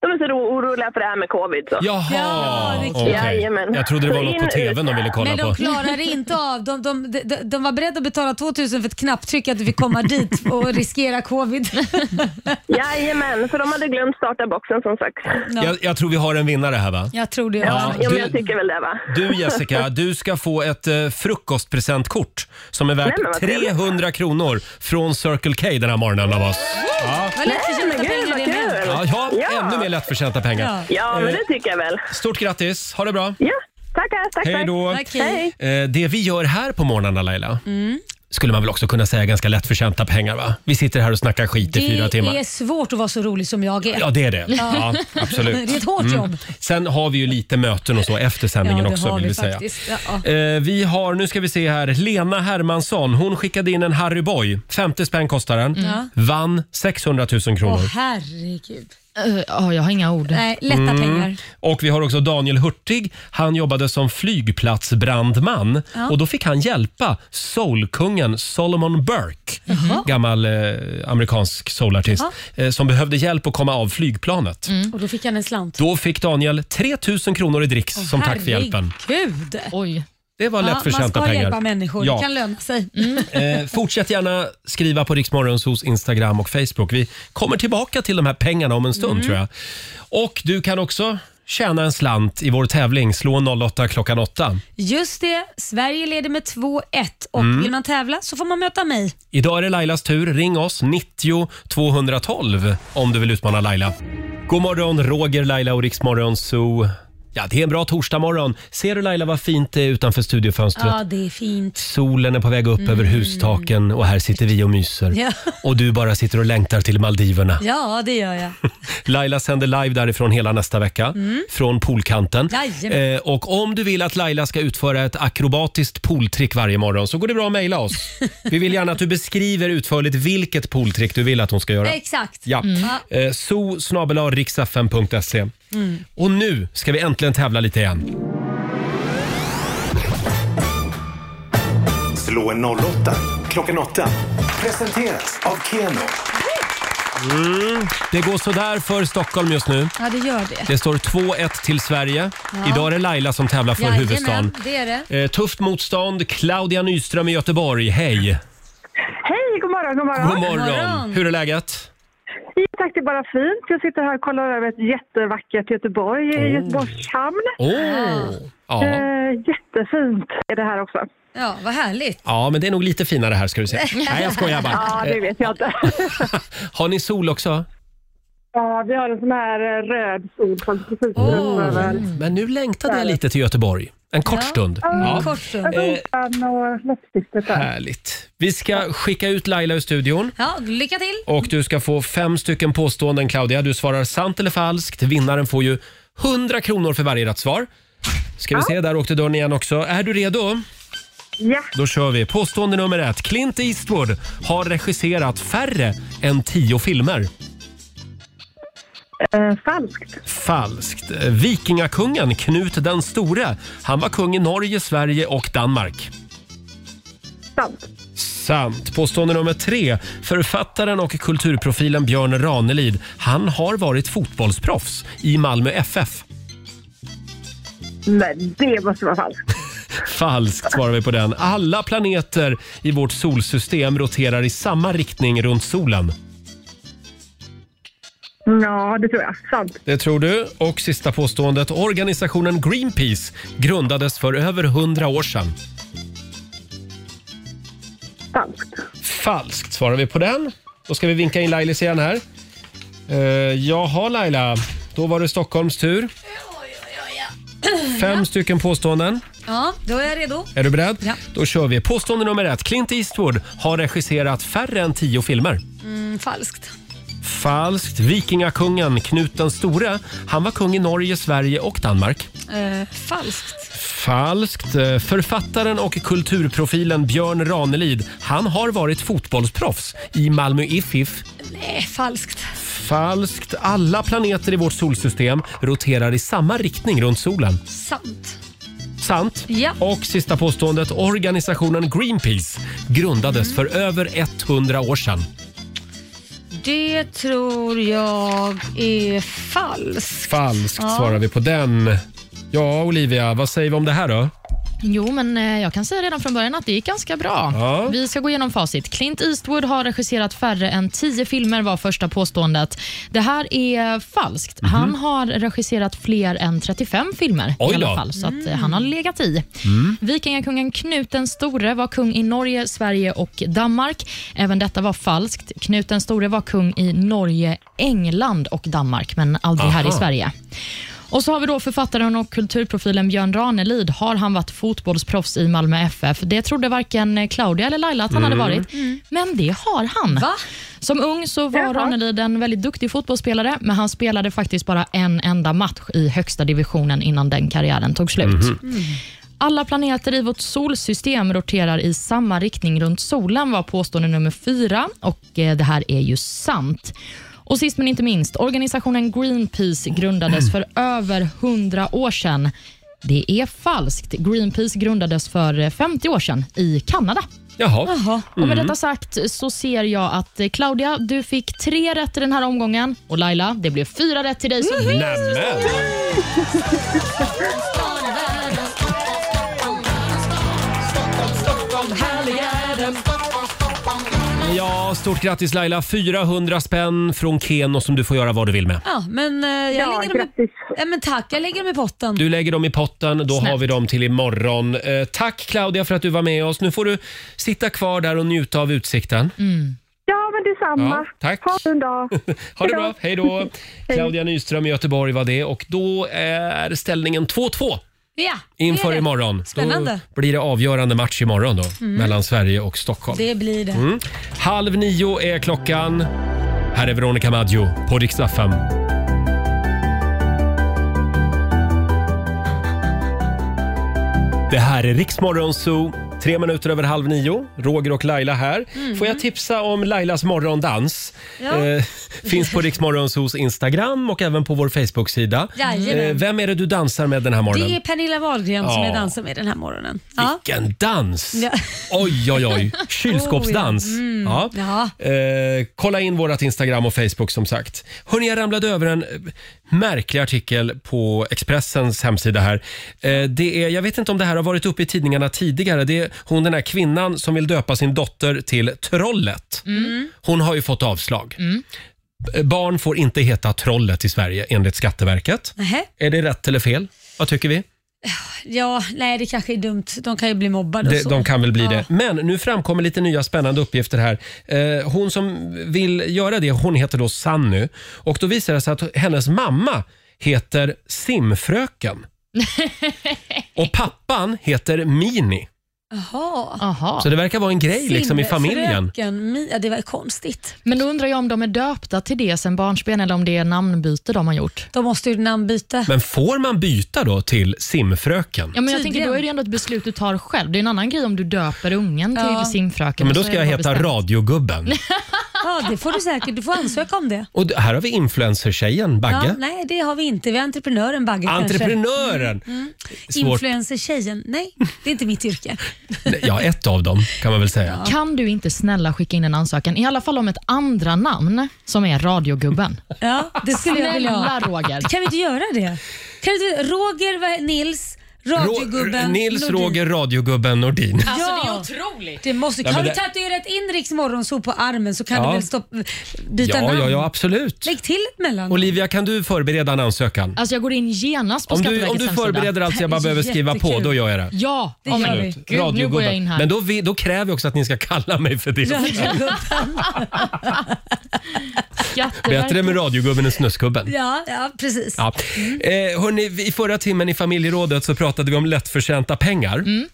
E: De är så ro- oroliga för det här med covid. Så.
A: Jaha!
B: Ja, det är klart.
A: Okej.
E: Jajamän.
A: Jag trodde det var
E: Så
A: något på
E: in-
A: tvn de ville kolla
B: Men
A: på.
B: de klarade inte av. De, de, de, de var beredda att betala 2000 för ett knapptryck att du fick komma dit och riskera covid.
E: Jajamän, för de hade glömt starta boxen som sagt.
B: Ja.
A: Jag, jag tror vi har en vinnare här va?
B: Jag tror det.
A: Ja.
B: Ja.
E: Ja,
A: Du-
E: men jag tycker väl det va.
A: Du Jessica, du ska få ett eh, frukostpresentkort som är värt
E: Nej, men vad trevligt.
A: 300 kronor från Circle K den här morgonen av oss. Ja,
B: Vad lätt att tjäna
E: Men gud
B: pengar
E: vad
B: det med.
E: kul!
A: ja, ja, ännu mer lättförtjänta pengar.
E: Ja, men
A: Eh,
E: det tycker jag väl.
A: Stort grattis, ha det bra.
E: Ja, tackar, tack,
A: Hej
E: tack.
A: då.
B: Tack, Mm. hej.
A: Eh, Det vi gör här på morgnarna Laila, skulle man väl också kunna säga ganska lättförtjänta pengar va? Vi sitter här och snackar skit i fyra
B: Det
A: timmar.
B: är svårt att vara så rolig som jag är.
A: Ja, det är det. Ja, absolut. Mm.
B: Det är ett hårt jobb.
A: Sen har vi ju lite möten och så efter sändningen
B: Ja, det
A: också
B: har
A: vill
B: vi
A: vi säga.
B: faktiskt. Ja,
A: Eh, vi har, nu ska vi se här, Lena Hermansson. Hon skickade in en Harry Boy. 50 spänn kostar den. Vann 600 000 kronor.
B: Mm. Åh herregud.
C: Eh, Ja, jag har inga ord.
B: Nej, lätta
A: Mm.
B: pengar.
A: Och vi har också Daniel Hurtig. Han jobbade som flygplatsbrandman och då fick han hjälpa soulkungen Solomon Burke, gammal eh, amerikansk soulartist, eh, som behövde hjälp att komma av flygplanet.
B: Och då fick han en slant.
A: Då fick Daniel 3 000 kronor i dricks som tack för hjälpen.
B: Herregud.
C: Oj.
A: Det var
B: Ja, man
A: lättförtjänta
B: ska
A: pengar.
B: hjälpa människor,
A: Ja.
B: det kan löna sig. Mm.
A: Eh, fortsätt gärna skriva på Riksmorgonsos Instagram och Facebook. Vi kommer tillbaka till de här pengarna om en stund
B: Mm.
A: tror jag. Och du kan också tjäna en slant i vår tävling Slå 08 klockan 8.
B: Just det, Sverige leder med 2-1 och
A: Mm.
B: vill man tävla så får man möta mig.
A: Idag är det Lailas tur. Ring oss 90 212 om du vill utmana Laila. God morgon Roger, Laila och Riksmorgon Zoo. Ja, det är en bra torsdagmorgon. Ser du Laila vad fint det är utanför studiofönstret?
B: Ja, det är fint.
A: Solen är på väg upp över hustaken och här sitter vi och myser.
B: Mm. Ja.
A: Och du bara sitter och längtar till Maldiverna.
B: Ja, det gör jag.
A: Laila sänder live därifrån hela nästa vecka, från poolkanten.
B: Mm. Jajamän.
A: Eh, och om du vill att Laila ska utföra ett akrobatiskt pooltrick varje morgon så går det bra att mejla oss. Vi vill gärna att du beskriver utförligt vilket pooltrick du vill att hon ska göra.
B: Exakt.
A: Ja. Eh, so
B: Mm.
A: Och nu ska vi äntligen tävla lite igen.
G: Slå en 08 klockan 8. Presenteras av Keno.
A: Mm. Det går sådär för Stockholm just nu.
B: Ja, det gör det.
A: Det står 2-1 till Sverige.
B: Ja.
A: Idag är det Laila som tävlar för
B: Jajamän,
A: huvudstaden.
B: det är det.
A: Eh, tufft motstånd. Claudia Nyström i Göteborg, hej!
K: Hej, god morgon, god morgon.
A: God morgon! Hur är läget?
K: Jo, tack, det är bara fint. Jag sitter här och kollar över ett jättevackert Göteborg, i
A: Oh.
K: Göteborgs hamn.
A: Åh. Ja.
K: Eh, jättefint är det här också.
B: Ja, vad härligt.
A: ja, men det är nog lite finare här ska du se. Nej, jag skojar
K: Ja,
A: bara.
K: det
A: Eh,
K: vet jag inte.
A: har ni sol också?
K: Ja, vi har en sån här eh, röd sol som precis oh. över.
A: Men nu längtade jag lite till Göteborg. En kort stund. Ja. Eh,
K: Rosan och läppstiftet där.
A: härligt. Vi ska skicka ut Laila ur studion.
B: Ja, lycka till.
A: Och du ska få fem stycken påståenden Claudia. Du svarar sant eller falskt. Vinnaren får ju 100 kronor för varje rätt svar. Ska vi se, där åkte dörren igen också. Är du redo?
K: Ja.
A: Då kör vi. Påstående nummer ett. Clint Eastwood har regisserat färre än tio filmer.
K: Eh, falskt.
A: Falskt. Vikingakungen Knut den store. Han var kung i Norge, Sverige och Danmark.
K: Sant.
A: Sant. Påstående nummer tre. Författaren och kulturprofilen Björn Ranelid. Han har varit fotbollsproffs i Malmö FF.
K: Nej, det måste vara falskt.
A: Falskt svarar vi på den. Alla planeter i vårt solsystem roterar i samma riktning runt solen.
K: Ja, det tror jag. Sant.
A: Det tror du. Och sista påståendet. Organisationen Greenpeace grundades för över 100 år sedan.
K: Falskt.
A: Falskt svarar vi på den. Då ska vi vinka in Lailis igen här. Uh, jaha Laila, då var det Stockholms tur. Fem stycken påståenden.
B: Ja, då är jag redo.
A: Är du beredd?
B: Ja.
A: Då kör vi. Påstående nummer ett. Clint Eastwood har regisserat färre än tio filmer.
B: Mm, falskt.
A: Falskt. Vikingakungen Knut den store, han var kung i Norge, Sverige och Danmark.
B: Eh, falskt.
A: Falskt. Eh, Författaren och kulturprofilen Björn Ranelid, han har varit fotbollsproffs i Malmö IFIF.
B: Nej, Eh, falskt.
A: Falskt. Alla planeter i vårt solsystem roterar i samma riktning runt solen.
B: Sant.
A: Sant.
B: Ja.
A: Och sista påståendet. Organisationen Greenpeace grundades för över 100 år sedan.
B: Det tror jag är falskt.
A: Falskt
B: Ja.
A: svarar vi på den. Ja, Olivia, vad säger vi om det här då?
C: Jo, men eh, jag kan säga redan från början att det gick ganska bra.
A: Ja.
C: Vi ska gå igenom facit. Clint Eastwood har regisserat färre än tio filmer var första påståendet. Det här är falskt.
A: Mhm.
C: Han har regisserat fler än 35 filmer
A: Oj
C: i alla
A: då.
C: fall, så att eh, han har legat i. Vikingakungen Knut den store var kung i Norge, Sverige och Danmark. Även detta var falskt. Knut den store var kung i Norge, England och Danmark, men aldrig här i
A: Aha.
C: Sverige. Och så har vi då författaren och kulturprofilen Björn Ranelid. Har han varit fotbollsproffs i Malmö FF? Det trodde varken Claudia eller Laila att han hade varit, men det har han.
B: Va?
C: Som ung så var
K: Jaha.
C: Ranelid en väldigt duktig fotbollsspelare, men han spelade faktiskt bara en enda match i högsta divisionen innan den karriären tog slut. Alla planeter i vårt solsystem roterar i samma riktning runt solen var påstående nummer fyra och eh, det här är ju sant. Och sist men inte minst, organisationen Greenpeace grundades för över 100 år sedan. Det är falskt. Greenpeace grundades för eh, 50 år sedan i Kanada.
A: Jaha.
B: Jaha.
C: Och med detta sagt så ser jag att eh, Claudia, du fick tre rätt i den här omgången och Laila, det blev fyra rätt till dig. Så
A: Nämen! Ja, stort grattis Laila. 400 spänn från Keno som du får göra vad du vill med.
B: Ja, men eh, jag
K: Ja,
B: lägger dem i...
K: grattis.
B: Ja, men tack, jag lägger dem i potten.
A: Du lägger dem i potten, då har
C: Snällt.
A: vi dem till imorgon. Eh, tack Claudia för att du var med oss. Nu får du sitta kvar där och njuta av utsikten.
B: Mm.
K: Ja, men detsamma.
A: Ja, tack.
K: Ha en dag.
A: Ha det
K: Hej då.
A: bra, hej då! Claudia Nyström i Göteborg var det och då är ställningen 2-2
B: Ja, det
A: inför
B: är det.
A: imorgon.
B: Spännande. Mm.
A: Då blir det avgörande match imorgon då, mellan Sverige och Stockholm.
B: Det blir det.
A: Mm. Halv nio är klockan. Här är Veronica Maggio på riksdag fem. Det här är Riksmorgon Zoo. Tre minuter över halv nio. Roger och Laila här. Får jag tipsa om Lailas morgondans?
B: Mhm. Ja.
A: Eh, Finns på Riksmorgonsos Instagram och även på vår Facebook-sida.
B: Jajamän.
A: Eh, Vem är det du dansar med den här morgonen?
B: Det är Pernilla Wahlgren som
A: Ja.
B: jag dansar med den här morgonen. Ja.
A: Vilken dans!
B: Ja.
A: Oj, oj, oj. Kylskåpsdans.
B: Oh, ja. Mm.
A: Ja. Eh, kolla in vårt Instagram och Facebook som sagt. Hörrni, jag ramlade över en eh, märklig artikel på Expressens hemsida här. Eh, det är, jag vet inte om det här har varit uppe i tidningarna tidigare. Det är hon den här kvinnan som vill döpa sin dotter till Trollet.
C: Mm.
A: Hon har ju fått avslag.
C: Mm.
A: B- Barn får inte heta Trollet i Sverige enligt Skatteverket.
B: Nähä.
A: Är det rätt eller fel? Vad tycker vi?
B: Ja, nej det kanske är dumt. De kan ju bli mobbade och
A: De,
B: så.
A: de kan väl bli
B: ja.
A: det. Alltså. Men nu framkommer lite nya spännande uppgifter här. Eh, hon som vill göra det, hon heter då Sanny. Och då visar det sig att hennes mamma heter Simfröken. Och pappan heter Mini.
B: Jaha.
A: Så det verkar vara en grej liksom i familjen.
B: Simfröken Mi- Ja, det var konstigt.
C: Men då undrar jag om de är döpta till det sen barnsben eller om det är namnbyte de har gjort.
B: De måste ju namnbyta.
A: Men får man byta då till Simfröken?
C: Ja, men jag tänker,
B: Tydligen.
C: då är det ändå ett beslut du tar själv. Det är en annan grej om du döper ungen
B: Ja.
C: till simfröken.
A: Ja, men då
C: och så
A: ska
C: är
A: jag
C: det bara
A: heta
C: bestämt.
A: Radiogubben.
B: Ja, det får du säkert. Du får ansöka om det.
A: Och d- här har vi influencertjejen
B: Ja,
A: Bagge.
B: nej, det har vi inte. Vi har entreprenören Bagge
A: Entreprenören!
C: Mm,
B: kanske.
A: Svårt.
B: Influencer-tjejen. Nej, det är inte mitt yrke.
A: Ja, ett av dem kan man väl säga.
C: Kan du inte snälla skicka in en ansökan, i alla fall om ett andra namn som är radiogubben?
B: Ja, det skulle jag vilja ha.
C: Snälla, Roger.
B: Kan vi inte göra det? Kan vi inte, Roger, vad är- Nils,
A: Rå-
B: radiogubben,
A: Nils
B: Nordin.
A: Roger Radiogubben Nordin.
B: Alltså, det är otroligt. Det måste,
A: Nej,
B: har
A: men
B: du
A: det-
B: tatuerat in Riks morgonso på armen så kan
A: Ja.
B: du väl stopp, byta
A: ja,
B: namn?
A: Ja, ja, absolut.
B: Lägg till ett mellan.
A: Olivia, kan du förbereda en ansökan?
C: Alltså jag går in genast på
A: Om du,
C: Skatteverkets
A: om du
C: hemsida.
A: förbereder allt jag bara behöver skriva på,
C: Jättekul.
A: då gör jag det.
C: Ja,
B: Det
C: oh
B: gör
C: men
B: vi.
C: gud, nu går jag in här.
A: Men då, vi, då kräver jag också att ni ska kalla mig för det.
B: Radiogubben.
C: Skatteverket.
A: Bättre med radiogubben än snuskgubben.
B: ja, ja, precis.
A: Ja. Eh, hörni, vi- i förra timmen i familjerådet så pratade vi om lättförtjänta pengar.
B: Mm.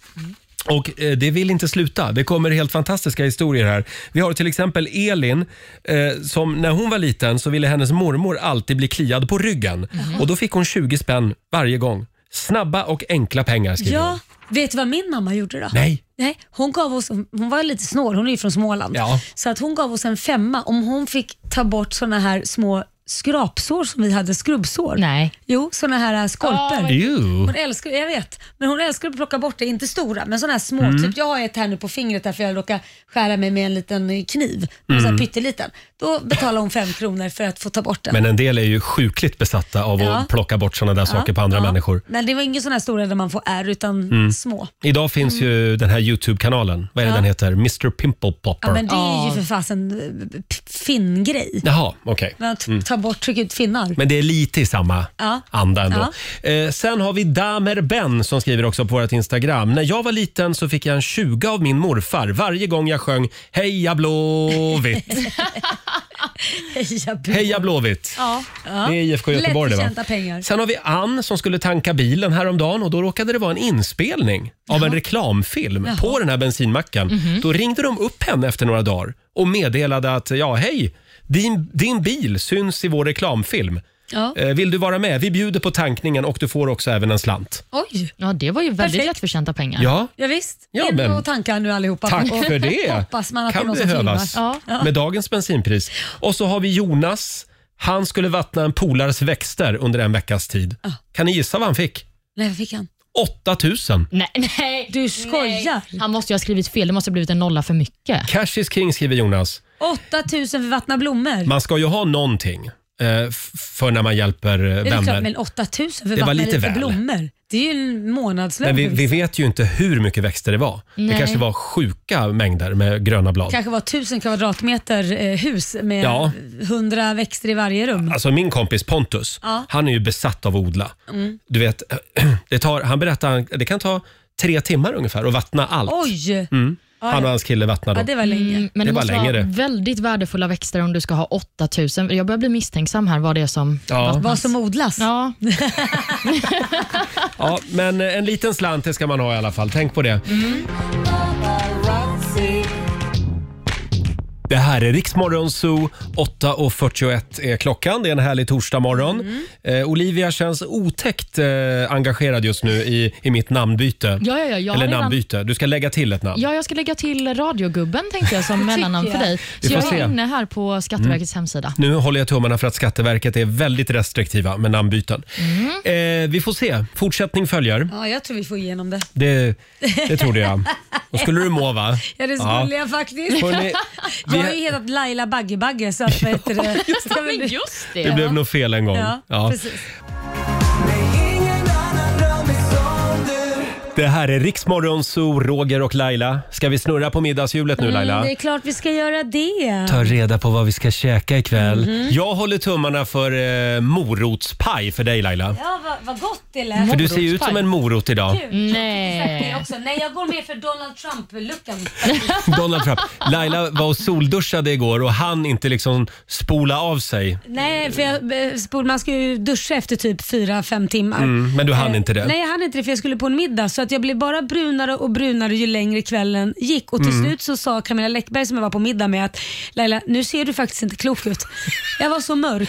A: Och eh, det vill inte sluta. Det kommer helt fantastiska historier här. Vi har till exempel Elin eh, som när hon var liten så ville hennes mormor alltid bli kliad på ryggen. Och då fick hon 20 spänn varje gång. Snabba och enkla pengar skriver hon.
B: Ja, vet du vad min mamma gjorde då?
A: Nej.
B: Nej, hon, gav oss, hon var lite snål, hon är ju från Småland.
A: Ja.
B: Så att hon gav oss en femma om hon fick ta bort såna här små skrapsår som vi hade, skrubbsår.
C: Nej.
B: Jo, såna här äh, skorpor.
C: Ah,
A: Ew.
B: Hon älskar, jag vet, men hon älskar att plocka bort det, inte stora, men sådana här små.
A: Mm.
B: Typ jag har ett här nu på fingret därför jag råkade skära mig med en liten eh, kniv,
A: Mm.
B: mm. så här pytteliten. Då betalar hon fem kronor för att få ta bort den.
A: Men en del är ju sjukligt besatta av
B: Ja.
A: att plocka bort såna där saker
B: Ja,
A: på andra
B: ja.
A: människor.
B: Men det var inga sådana här stora där man får ärr, utan
A: Mm.
B: små.
A: Idag finns ju den här Youtube-kanalen. Vad är det
B: Mm. Ja.
A: den heter? Mr Pimple Popper.
B: Ja, men det är
C: Ja.
B: ju för fasen eh, p- finn-grej.
A: Jaha, okej.
B: Men att
A: Mm.
B: ta bort, tryck ut finnar.
A: Men det är lite i samma
B: Ja.
A: anda ändå. Eh, sen har vi Damer Ben som skriver också på vårt Instagram. När jag var liten så fick jag en 20 av min morfar varje gång jag sjöng Heja Blåvitt,
B: Heja Blå.
A: Heja Blåvitt.
B: Ja.
A: Det är IFK Göteborg det va?
B: Lättförtjänta pengar.
A: Sen har vi Ann som skulle tanka bilen häromdagen och då råkade det vara en inspelning av en reklamfilm
B: Jaha.
A: på den här bensinmacken.
B: Mhm.
A: Då ringde de upp henne efter några dagar och meddelade att ja, hej, din, din bil syns i vår reklamfilm.
B: Ja.
A: Eh, Vill du vara med? Vi bjuder på tankningen och du får också även en slant.
B: Oj.
C: Ja, det var ju väldigt
B: Perfekt.
C: lättförtjänta pengar.
A: Ja.
B: Ja, visst.
A: Ja,
B: In
A: men-
B: och tanka nu allihopa.
A: Tack
B: Och
A: för det.
B: Hoppas man att det är
A: kan
B: någon som filmar.
A: behövas med dagens bensinpris. Och så har vi Jonas. Han skulle vattna en polares växter under en veckas tid. Kan ni gissa vad han fick?
B: Nej, vad fick han?
A: 8000.
C: Nej, nej,
B: Du skojar.
C: Han måste ju ha skrivit fel. Det måste ha blivit en nolla för mycket.
A: Cash is king skriver Jonas.
B: 8000 för vattna blommor.
A: Man ska ju ha någonting eh, f- för när man hjälper eh,
B: det är klart, men
A: vänner.
B: 8000
A: Det
B: för
A: var
B: vattna
A: lite
B: lite,
A: väl.
B: blommor. Det är ju en månadslön.
A: Men vi,
B: för
A: vi
B: vissa.
A: vet ju inte hur mycket växter det var. Det
B: Nej.
A: kanske var sjuka mängder med gröna blad.
B: kanske var 1000 kvadratmeter eh, hus med
A: Ja.
B: 100 växter i varje rum.
A: Alltså min kompis Pontus,
B: Ja.
A: han är ju besatt av att odla.
B: Mm.
A: Du vet, det tar, han berättar att det kan ta tre timmar ungefär att vattna allt.
B: Oj!
A: Mm.
B: Ja,
A: Han och
B: ja.
A: hans kille vattnar då.
B: Ja, det var länge.
C: Mm, men det,
A: Det var
C: måste
A: länge
C: vara
A: det.
C: väldigt värdefulla växter om du ska ha 8000. Jag börjar bli misstänksam här vad det är som
A: Ja.
B: Vad som odlas.
C: Ja.
A: Ja, men eh, en liten slant det ska man
C: Mm.
A: ha i alla fall. Tänk på det. Det här är Riksmorgon Zoo. 8.41 är klockan. Det är en härlig torsdagmorgon.
C: Mm.
A: Eh, Olivia känns otäckt eh, engagerad just nu i, i mitt namnbyte.
C: Ja, ja, ja, jag har
A: Eller
C: redan-
A: namnbyte. Du ska lägga till ett namn.
C: Ja, jag ska lägga till radiogubben tänkte jag som mellannamn för
A: jag.
C: dig.
A: Vi
C: Så
A: får
C: jag
A: se. Mm.
C: är inne här på Skatteverkets hemsida.
A: Nu håller jag tummarna för att Skatteverket är väldigt restriktiva med namnbyten.
B: Mm.
A: Eh, vi får se. Fortsättning följer.
B: Ja, jag tror vi får igenom det.
A: Det, det trodde jag. Då skulle du må, va?
B: Ja, det skulle jag faktiskt.
A: Hörrni, vi-
B: Jag har ju hetat Laila Bagge-Bagge så att vad heter det? Ja, men just
A: Det blev nog fel en gång.
B: Ja,
A: Ja.
B: precis.
A: Det här är Riksmorgon Zoo, Roger och Laila. Ska vi snurra på middagshjulet nu Laila?
B: Mm, det är klart vi ska göra det.
A: Ta reda på vad vi ska käka ikväll.
B: Mhm.
A: Jag håller tummarna för eh, morotspaj för dig Laila.
B: Ja, vad, vad gott det lät.
A: För du ser ju ut som en morot idag.
B: Gud, Nej. Också. Nej, jag går med för Donald Trump-luckan.
A: Donald Trump. Laila var och solduschade igår och han inte liksom spola av sig.
B: Nej, för jag, eh, spol- man ska ju duscha efter typ 4-5 timmar.
A: Mm, men du hann inte det.
B: Eh, Nej, jag hann inte det för jag skulle på en middag så att jag blev bara brunare och brunare ju längre kvällen gick. Och till
A: Mm.
B: slut så sa Camilla Läckberg som jag var på middag med att Laila, nu ser du faktiskt inte klok ut. Jag var så mörk.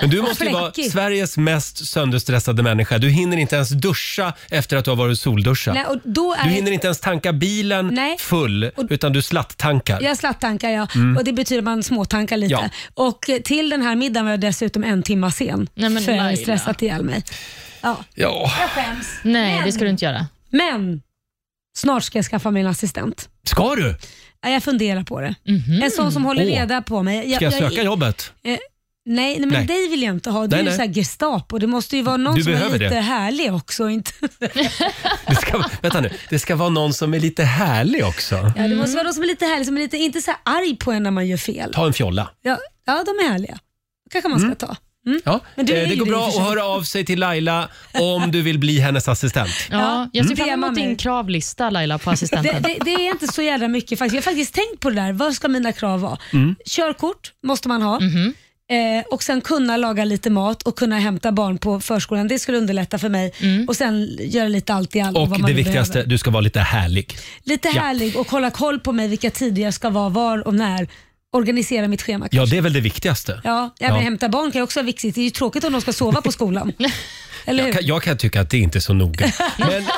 A: Men du
B: och
A: måste ju vara
B: fläckig.
A: Sveriges mest sönderstressade människa. Du hinner inte ens duscha efter att du har varit och solduschat.
B: Nej, och då är
A: Du hinner inte ens tanka bilen
B: Nej.
A: full, utan du slatt-tankar.
B: Jag slattankar ja.
A: Mm.
B: Och det betyder att man småtankar lite.
A: Ja.
B: Och eh, till den här middagen var jag dessutom en timma sen.
C: men
B: för jag hade
C: Laila.
B: stressat ihjäl mig. Ja.
A: Ja.
B: Jag skäms.
C: Nej, det ska du inte göra.
B: Men snart ska jag skaffa mig en assistent.
A: Ska du?
B: Ja, Jag funderar på det.
C: Mhm.
B: En sån som håller
A: Åh.
B: reda på mig.
A: Ska jag söka jobbet?
B: Eh, nej, nej, men
A: Nej.
B: dig vill jag inte ha. Du
A: Nej,
B: är ju
A: nej.
B: så här Gestapo. Det måste ju vara någon
A: Du
B: som är
A: behöver
B: lite
A: det.
B: härlig också. Inte...
A: Det ska, vänta nu, det ska vara någon som är lite härlig också.
B: Ja, det måste vara någon som är lite härlig, som är lite, inte så här arg på en när man gör fel.
A: Ta en fjolla.
B: Ja, ja, de är härliga. kanske man ska ta. Mm.
A: Ja.
B: Men du är
A: eh, det
B: ju
A: går
B: det i
A: bra
B: och
A: att
B: för sig.
A: höra av sig till Laila om du vill bli hennes assistent.
C: Ja, jag ser
B: Mm.
C: fram emot din kravlista Laila på
B: Det,
C: assistenten.
B: det, det är inte så jävla mycket faktiskt. Jag har faktiskt tänkt på det där. Vad ska mina krav vara?
C: Mm.
B: Körkort måste man ha. Eh, och sen kunna laga lite mat och kunna hämta barn på förskolan. Det skulle underlätta för mig. Och sen göra lite allt i allo.
A: Och
B: vad man
A: det
B: nu
A: viktigaste,
B: behöver.
A: du ska vara lite härlig.
B: Lite
A: Ja.
B: härlig och hålla koll på mig vilka tider jag ska vara, var och när. Organisera mitt schema.
A: Ja, det är väl det viktigaste.
B: Ja, även hämta barn kan ju också vara viktigt. Det är ju tråkigt om de ska sova på skolan. Eller hur?
A: Jag, kan, jag kan tycka att det inte är så noga. Men eh,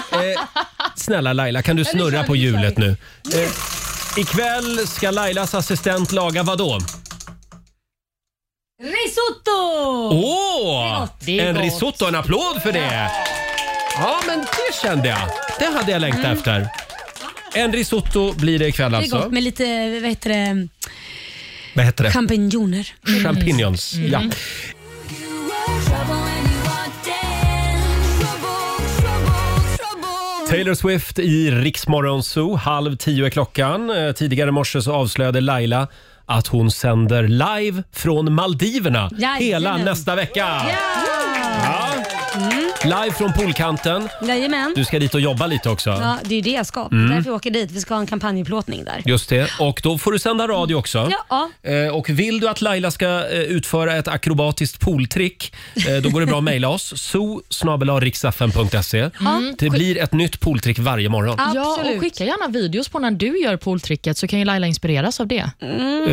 A: snälla Laila, kan du
B: Ja, nu kör
A: snurra
B: vi,
A: på
B: nu kör
A: hjulet nu? Eh, ikväll ska Lailas assistent laga vad då?
B: Risotto!
A: Åh!
B: Det är
A: en
B: gott.
A: risotto, en applåd för det! Ja, men det kände jag. Det hade jag längtat
B: Mm.
A: efter. En risotto blir det ikväll
B: Det är
A: alltså.
B: gott med lite, vad heter det,
A: Vad heter det?
B: champinjoner.
A: Champignons.
B: Mm.
A: Ja.
B: Mm.
A: Taylor Swift i Riksmorgon Zoo. Halv tio är klockan. Eh, Tidigare i morse så avslöjade Laila att hon sänder live från Maldiverna
B: Jajamän.
A: hela nästa vecka. Ja. Live från poolkanten.
B: Jajamän.
A: Du ska dit och jobba lite också.
B: Ja, det är ju det jag ska.
A: Mm.
B: därför jag åker dit. Vi ska ha en kampanjplåtning där.
A: Just det. Och då får du sända radio också.
B: Ja.
A: Eh, Och vill du att Laila ska eh, utföra ett akrobatiskt pooltrick, eh, då går det bra att mejla oss. zoo
C: Mm.
A: Det blir ett nytt pooltrick varje morgon.
C: Ja, och skicka gärna videos på när du gör pooltricket så kan ju Laila inspireras av det.
A: Eh,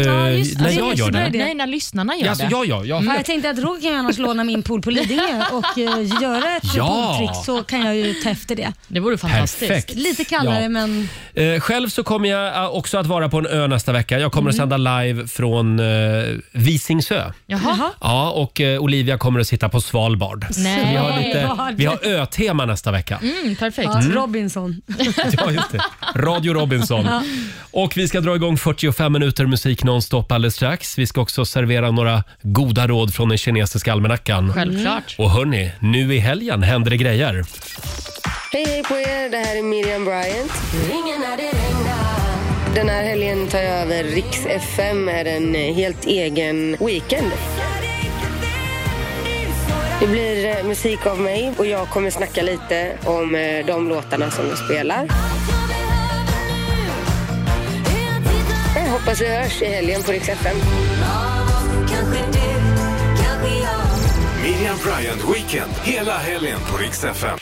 A: ja, just det. när jag gör det?
C: Nej, när lyssnarna gör
A: Ja, alltså,
C: det.
A: ja, ja, ja.
B: Ja, Mm. jag tänkte att Roger kan ju annars låna min pool på Lidingö och eh, göra ett
A: Ja.
B: pooltrick så kan jag ju ta efter det.
C: Det vore
A: fantastiskt. Perfekt.
B: Lite kallare
A: Ja.
B: men
A: Eh, Själv så kommer jag eh, också att vara på en ö nästa vecka. Jag kommer att
B: Mm.
A: sända live från eh, Visingsö.
B: Jaha.
A: Ja, och eh, Olivia kommer att sitta på Svalbard.
B: Nej.
A: Så Vi har, lite,
B: Svalbard.
A: vi har ö-tema nästa vecka.
C: Mm, perfekt.
B: ja,
A: Mm.
B: Robinson.
A: Ja, just det. Radio Robinson.
B: Ja.
A: Och vi ska dra igång 45 minuter musik nonstop alldeles strax. Vi ska också servera några goda råd från den kinesiska almanackan.
L: Självklart.
A: Och hörni, nu i helgen händer det grejer.
L: Hej, hej på er. Det här är Miriam Bryant. Ringen när det regnar. Den här helgen tar jag över Riks FM med en eh, helt egen weekend. Det blir eh, musik av mig och jag kommer snacka lite om eh, de låtarna som jag spelar. Jag hoppas vi hörs i helgen på Riks FM.
D: Miriam Bryant Weekend hela helgen på Rix FM.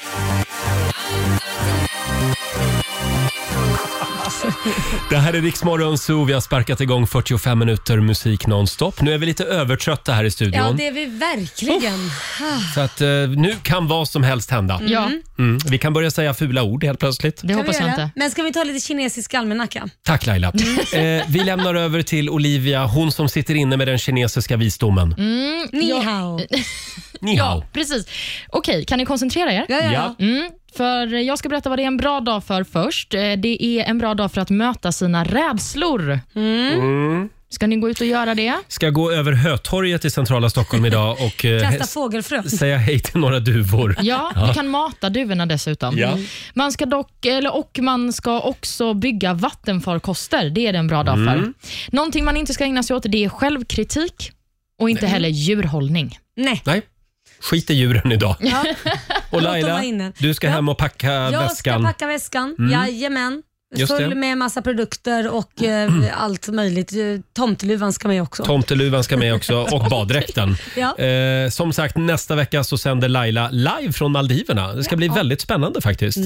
A: Det här är Riksmorgon Zoo. Vi har sparkat igång 45 minuter musik nonstop. Nu är vi lite övertrötta här i studion.
B: Ja, det är vi verkligen. Ah.
A: Så att eh, nu kan vad som helst hända.
B: Ja.
A: Mm. Vi kan börja säga fula ord helt plötsligt.
C: Det
B: Kan vi göra? Men ska vi ta lite kinesisk almanacka?
A: Tack Laila.
B: Mm.
A: Eh, vi lämnar över till Olivia, hon som sitter inne med den kinesiska visdomen.
C: Mm,
B: Ni
C: jag-
B: hao.
A: Ni hao.
C: Precis. Okej, kan ni koncentrera er?
A: ja, ja.
C: Mm, för jag ska berätta vad det är en bra dag för först. Eh, Det är en bra dag för att möta sina rädslor.
A: Mm.
C: Ska ni gå ut och göra det?
A: Ska gå över Hötorget i centrala Stockholm idag och eh,
C: Kasta
A: s-
C: fågelfrön.
A: säga hej till några duvor.
B: Mm.
C: Ja, du kan mata duvorna dessutom.
A: Ja.
C: Man ska dock, eller, och man ska också bygga vattenfarkoster. Det är det en bra dag för.
A: Mm.
C: Någonting man inte ska ägna sig åt det är självkritik och inte heller djurhållning.
B: Nej.
A: Nej, skit i djuren idag.
B: Ja.
A: Och
B: Låt dem
A: Laila,
B: vara inne.
A: du ska hem och packa
B: Jag
A: väskan.
B: ska packa väskan,
A: Mm.
B: jajamän.
A: Just
B: Full
A: det.
B: med massa produkter och eh, allt möjligt. Eh, Tomteluvan ska med också.
A: Tomteluvan ska med också och baddräkten.
B: Ja.
A: Eh, som sagt, nästa vecka så sänder Laila live från Maldiverna. Det ska bli väldigt spännande faktiskt.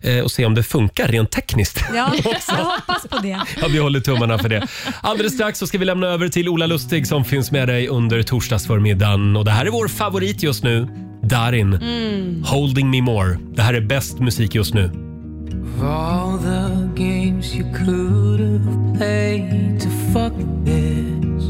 A: Eh, och se om det funkar rent tekniskt.
B: Ja, jag hoppas på det.
A: Ja, vi håller tummarna för det. Alldeles strax så ska vi lämna över till Ola Lustig som finns med dig under torsdagsförmiddagen. Och det här är vår favorit just nu, Darin. Holding me more. Det här är bäst musik just nu.
M: Of all the games you could have played to fuck this.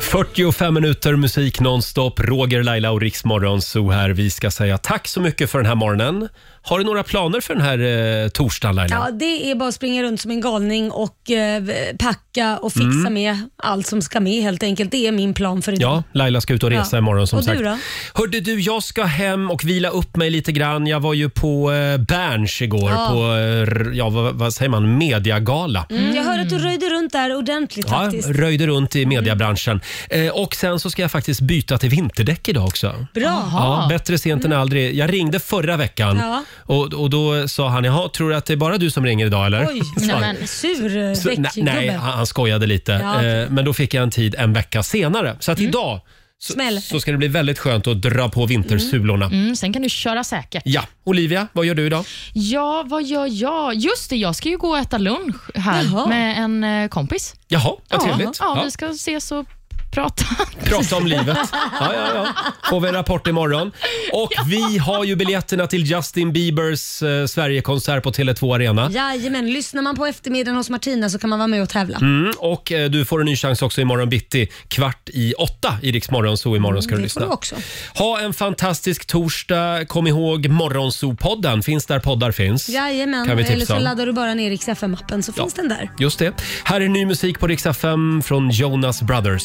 A: 45 minuter musik nonstop. Roger, Laila och Riksmorgon Zoo här. Vi ska säga tack så mycket för den här morgonen. Har du några planer för den här eh, torsdagen Laila?
B: Ja, det är bara att springa runt som en galning och eh, packa och fixa
A: Mm.
B: med allt som ska med helt enkelt. Det är min plan för idag.
A: Ja, Laila ska ut och resa
B: Ja.
A: imorgon som
B: Och du
A: sagt.
B: då?
A: Hörde du, jag ska hem och vila upp mig lite grann. Jag var ju på eh, Berns igår
B: Ja.
A: på, eh, r- ja vad, vad säger man, mediagala.
B: Mm. Jag hörde att du röjde runt där ordentligt
A: Ja,
B: faktiskt. Mm.
A: röjde runt i mediabranschen. Eh, och sen så ska jag faktiskt byta till vinterdäck idag också.
B: Bra.
A: Ja, bättre sent än aldrig. Jag ringde förra veckan
B: Ja.
A: och, och då sa han, jaha, tror du att det är bara du som ringer idag eller?
B: Oj,
A: Sa
B: nej,
A: han.
B: men, sur eh,
A: Så, nej,
B: väckgubbe.
A: nej, han han skojade lite.
B: Ja, okej.
A: Eh, Men då fick jag en tid en vecka senare. Så att idag så,
C: Smäll.
A: så ska det bli väldigt skönt att dra på vintersulorna.
C: Mm, sen kan du köra säkert.
A: Ja, Olivia, vad gör du idag?
C: Ja, vad gör jag? Just det, jag ska ju gå och äta lunch här
A: Jaha.
C: med en eh, kompis.
A: Jaha, vad
C: ja,
A: trevligt.
C: Ja,
A: Ja.
C: vi ska ses och prata.
A: Prata om livet. Ja, ja, ja. Får vi en rapport imorgon. Och vi har ju biljetterna till Justin Biebers eh, Sverigekonsert på Tele2 Arena.
B: Jajamän, lyssnar man på eftermiddagen hos Martina så kan man vara med och tävla.
A: Mm, och eh, du får en ny chans också imorgon bitti kvart i åtta i Rix Morgon, så imorgon ska du
B: Mm, det
A: lyssna.
B: får du också.
A: Ha en fantastisk torsdag. Kom ihåg Morgonzoo-podden finns där poddar finns.
B: Jajamän,
A: Kan vi tipsa
B: eller så
A: om.
B: laddar du bara ner Rix FM-appen så finns den där.
A: Just det. Här är ny musik på Rix FM från Jonas Brothers.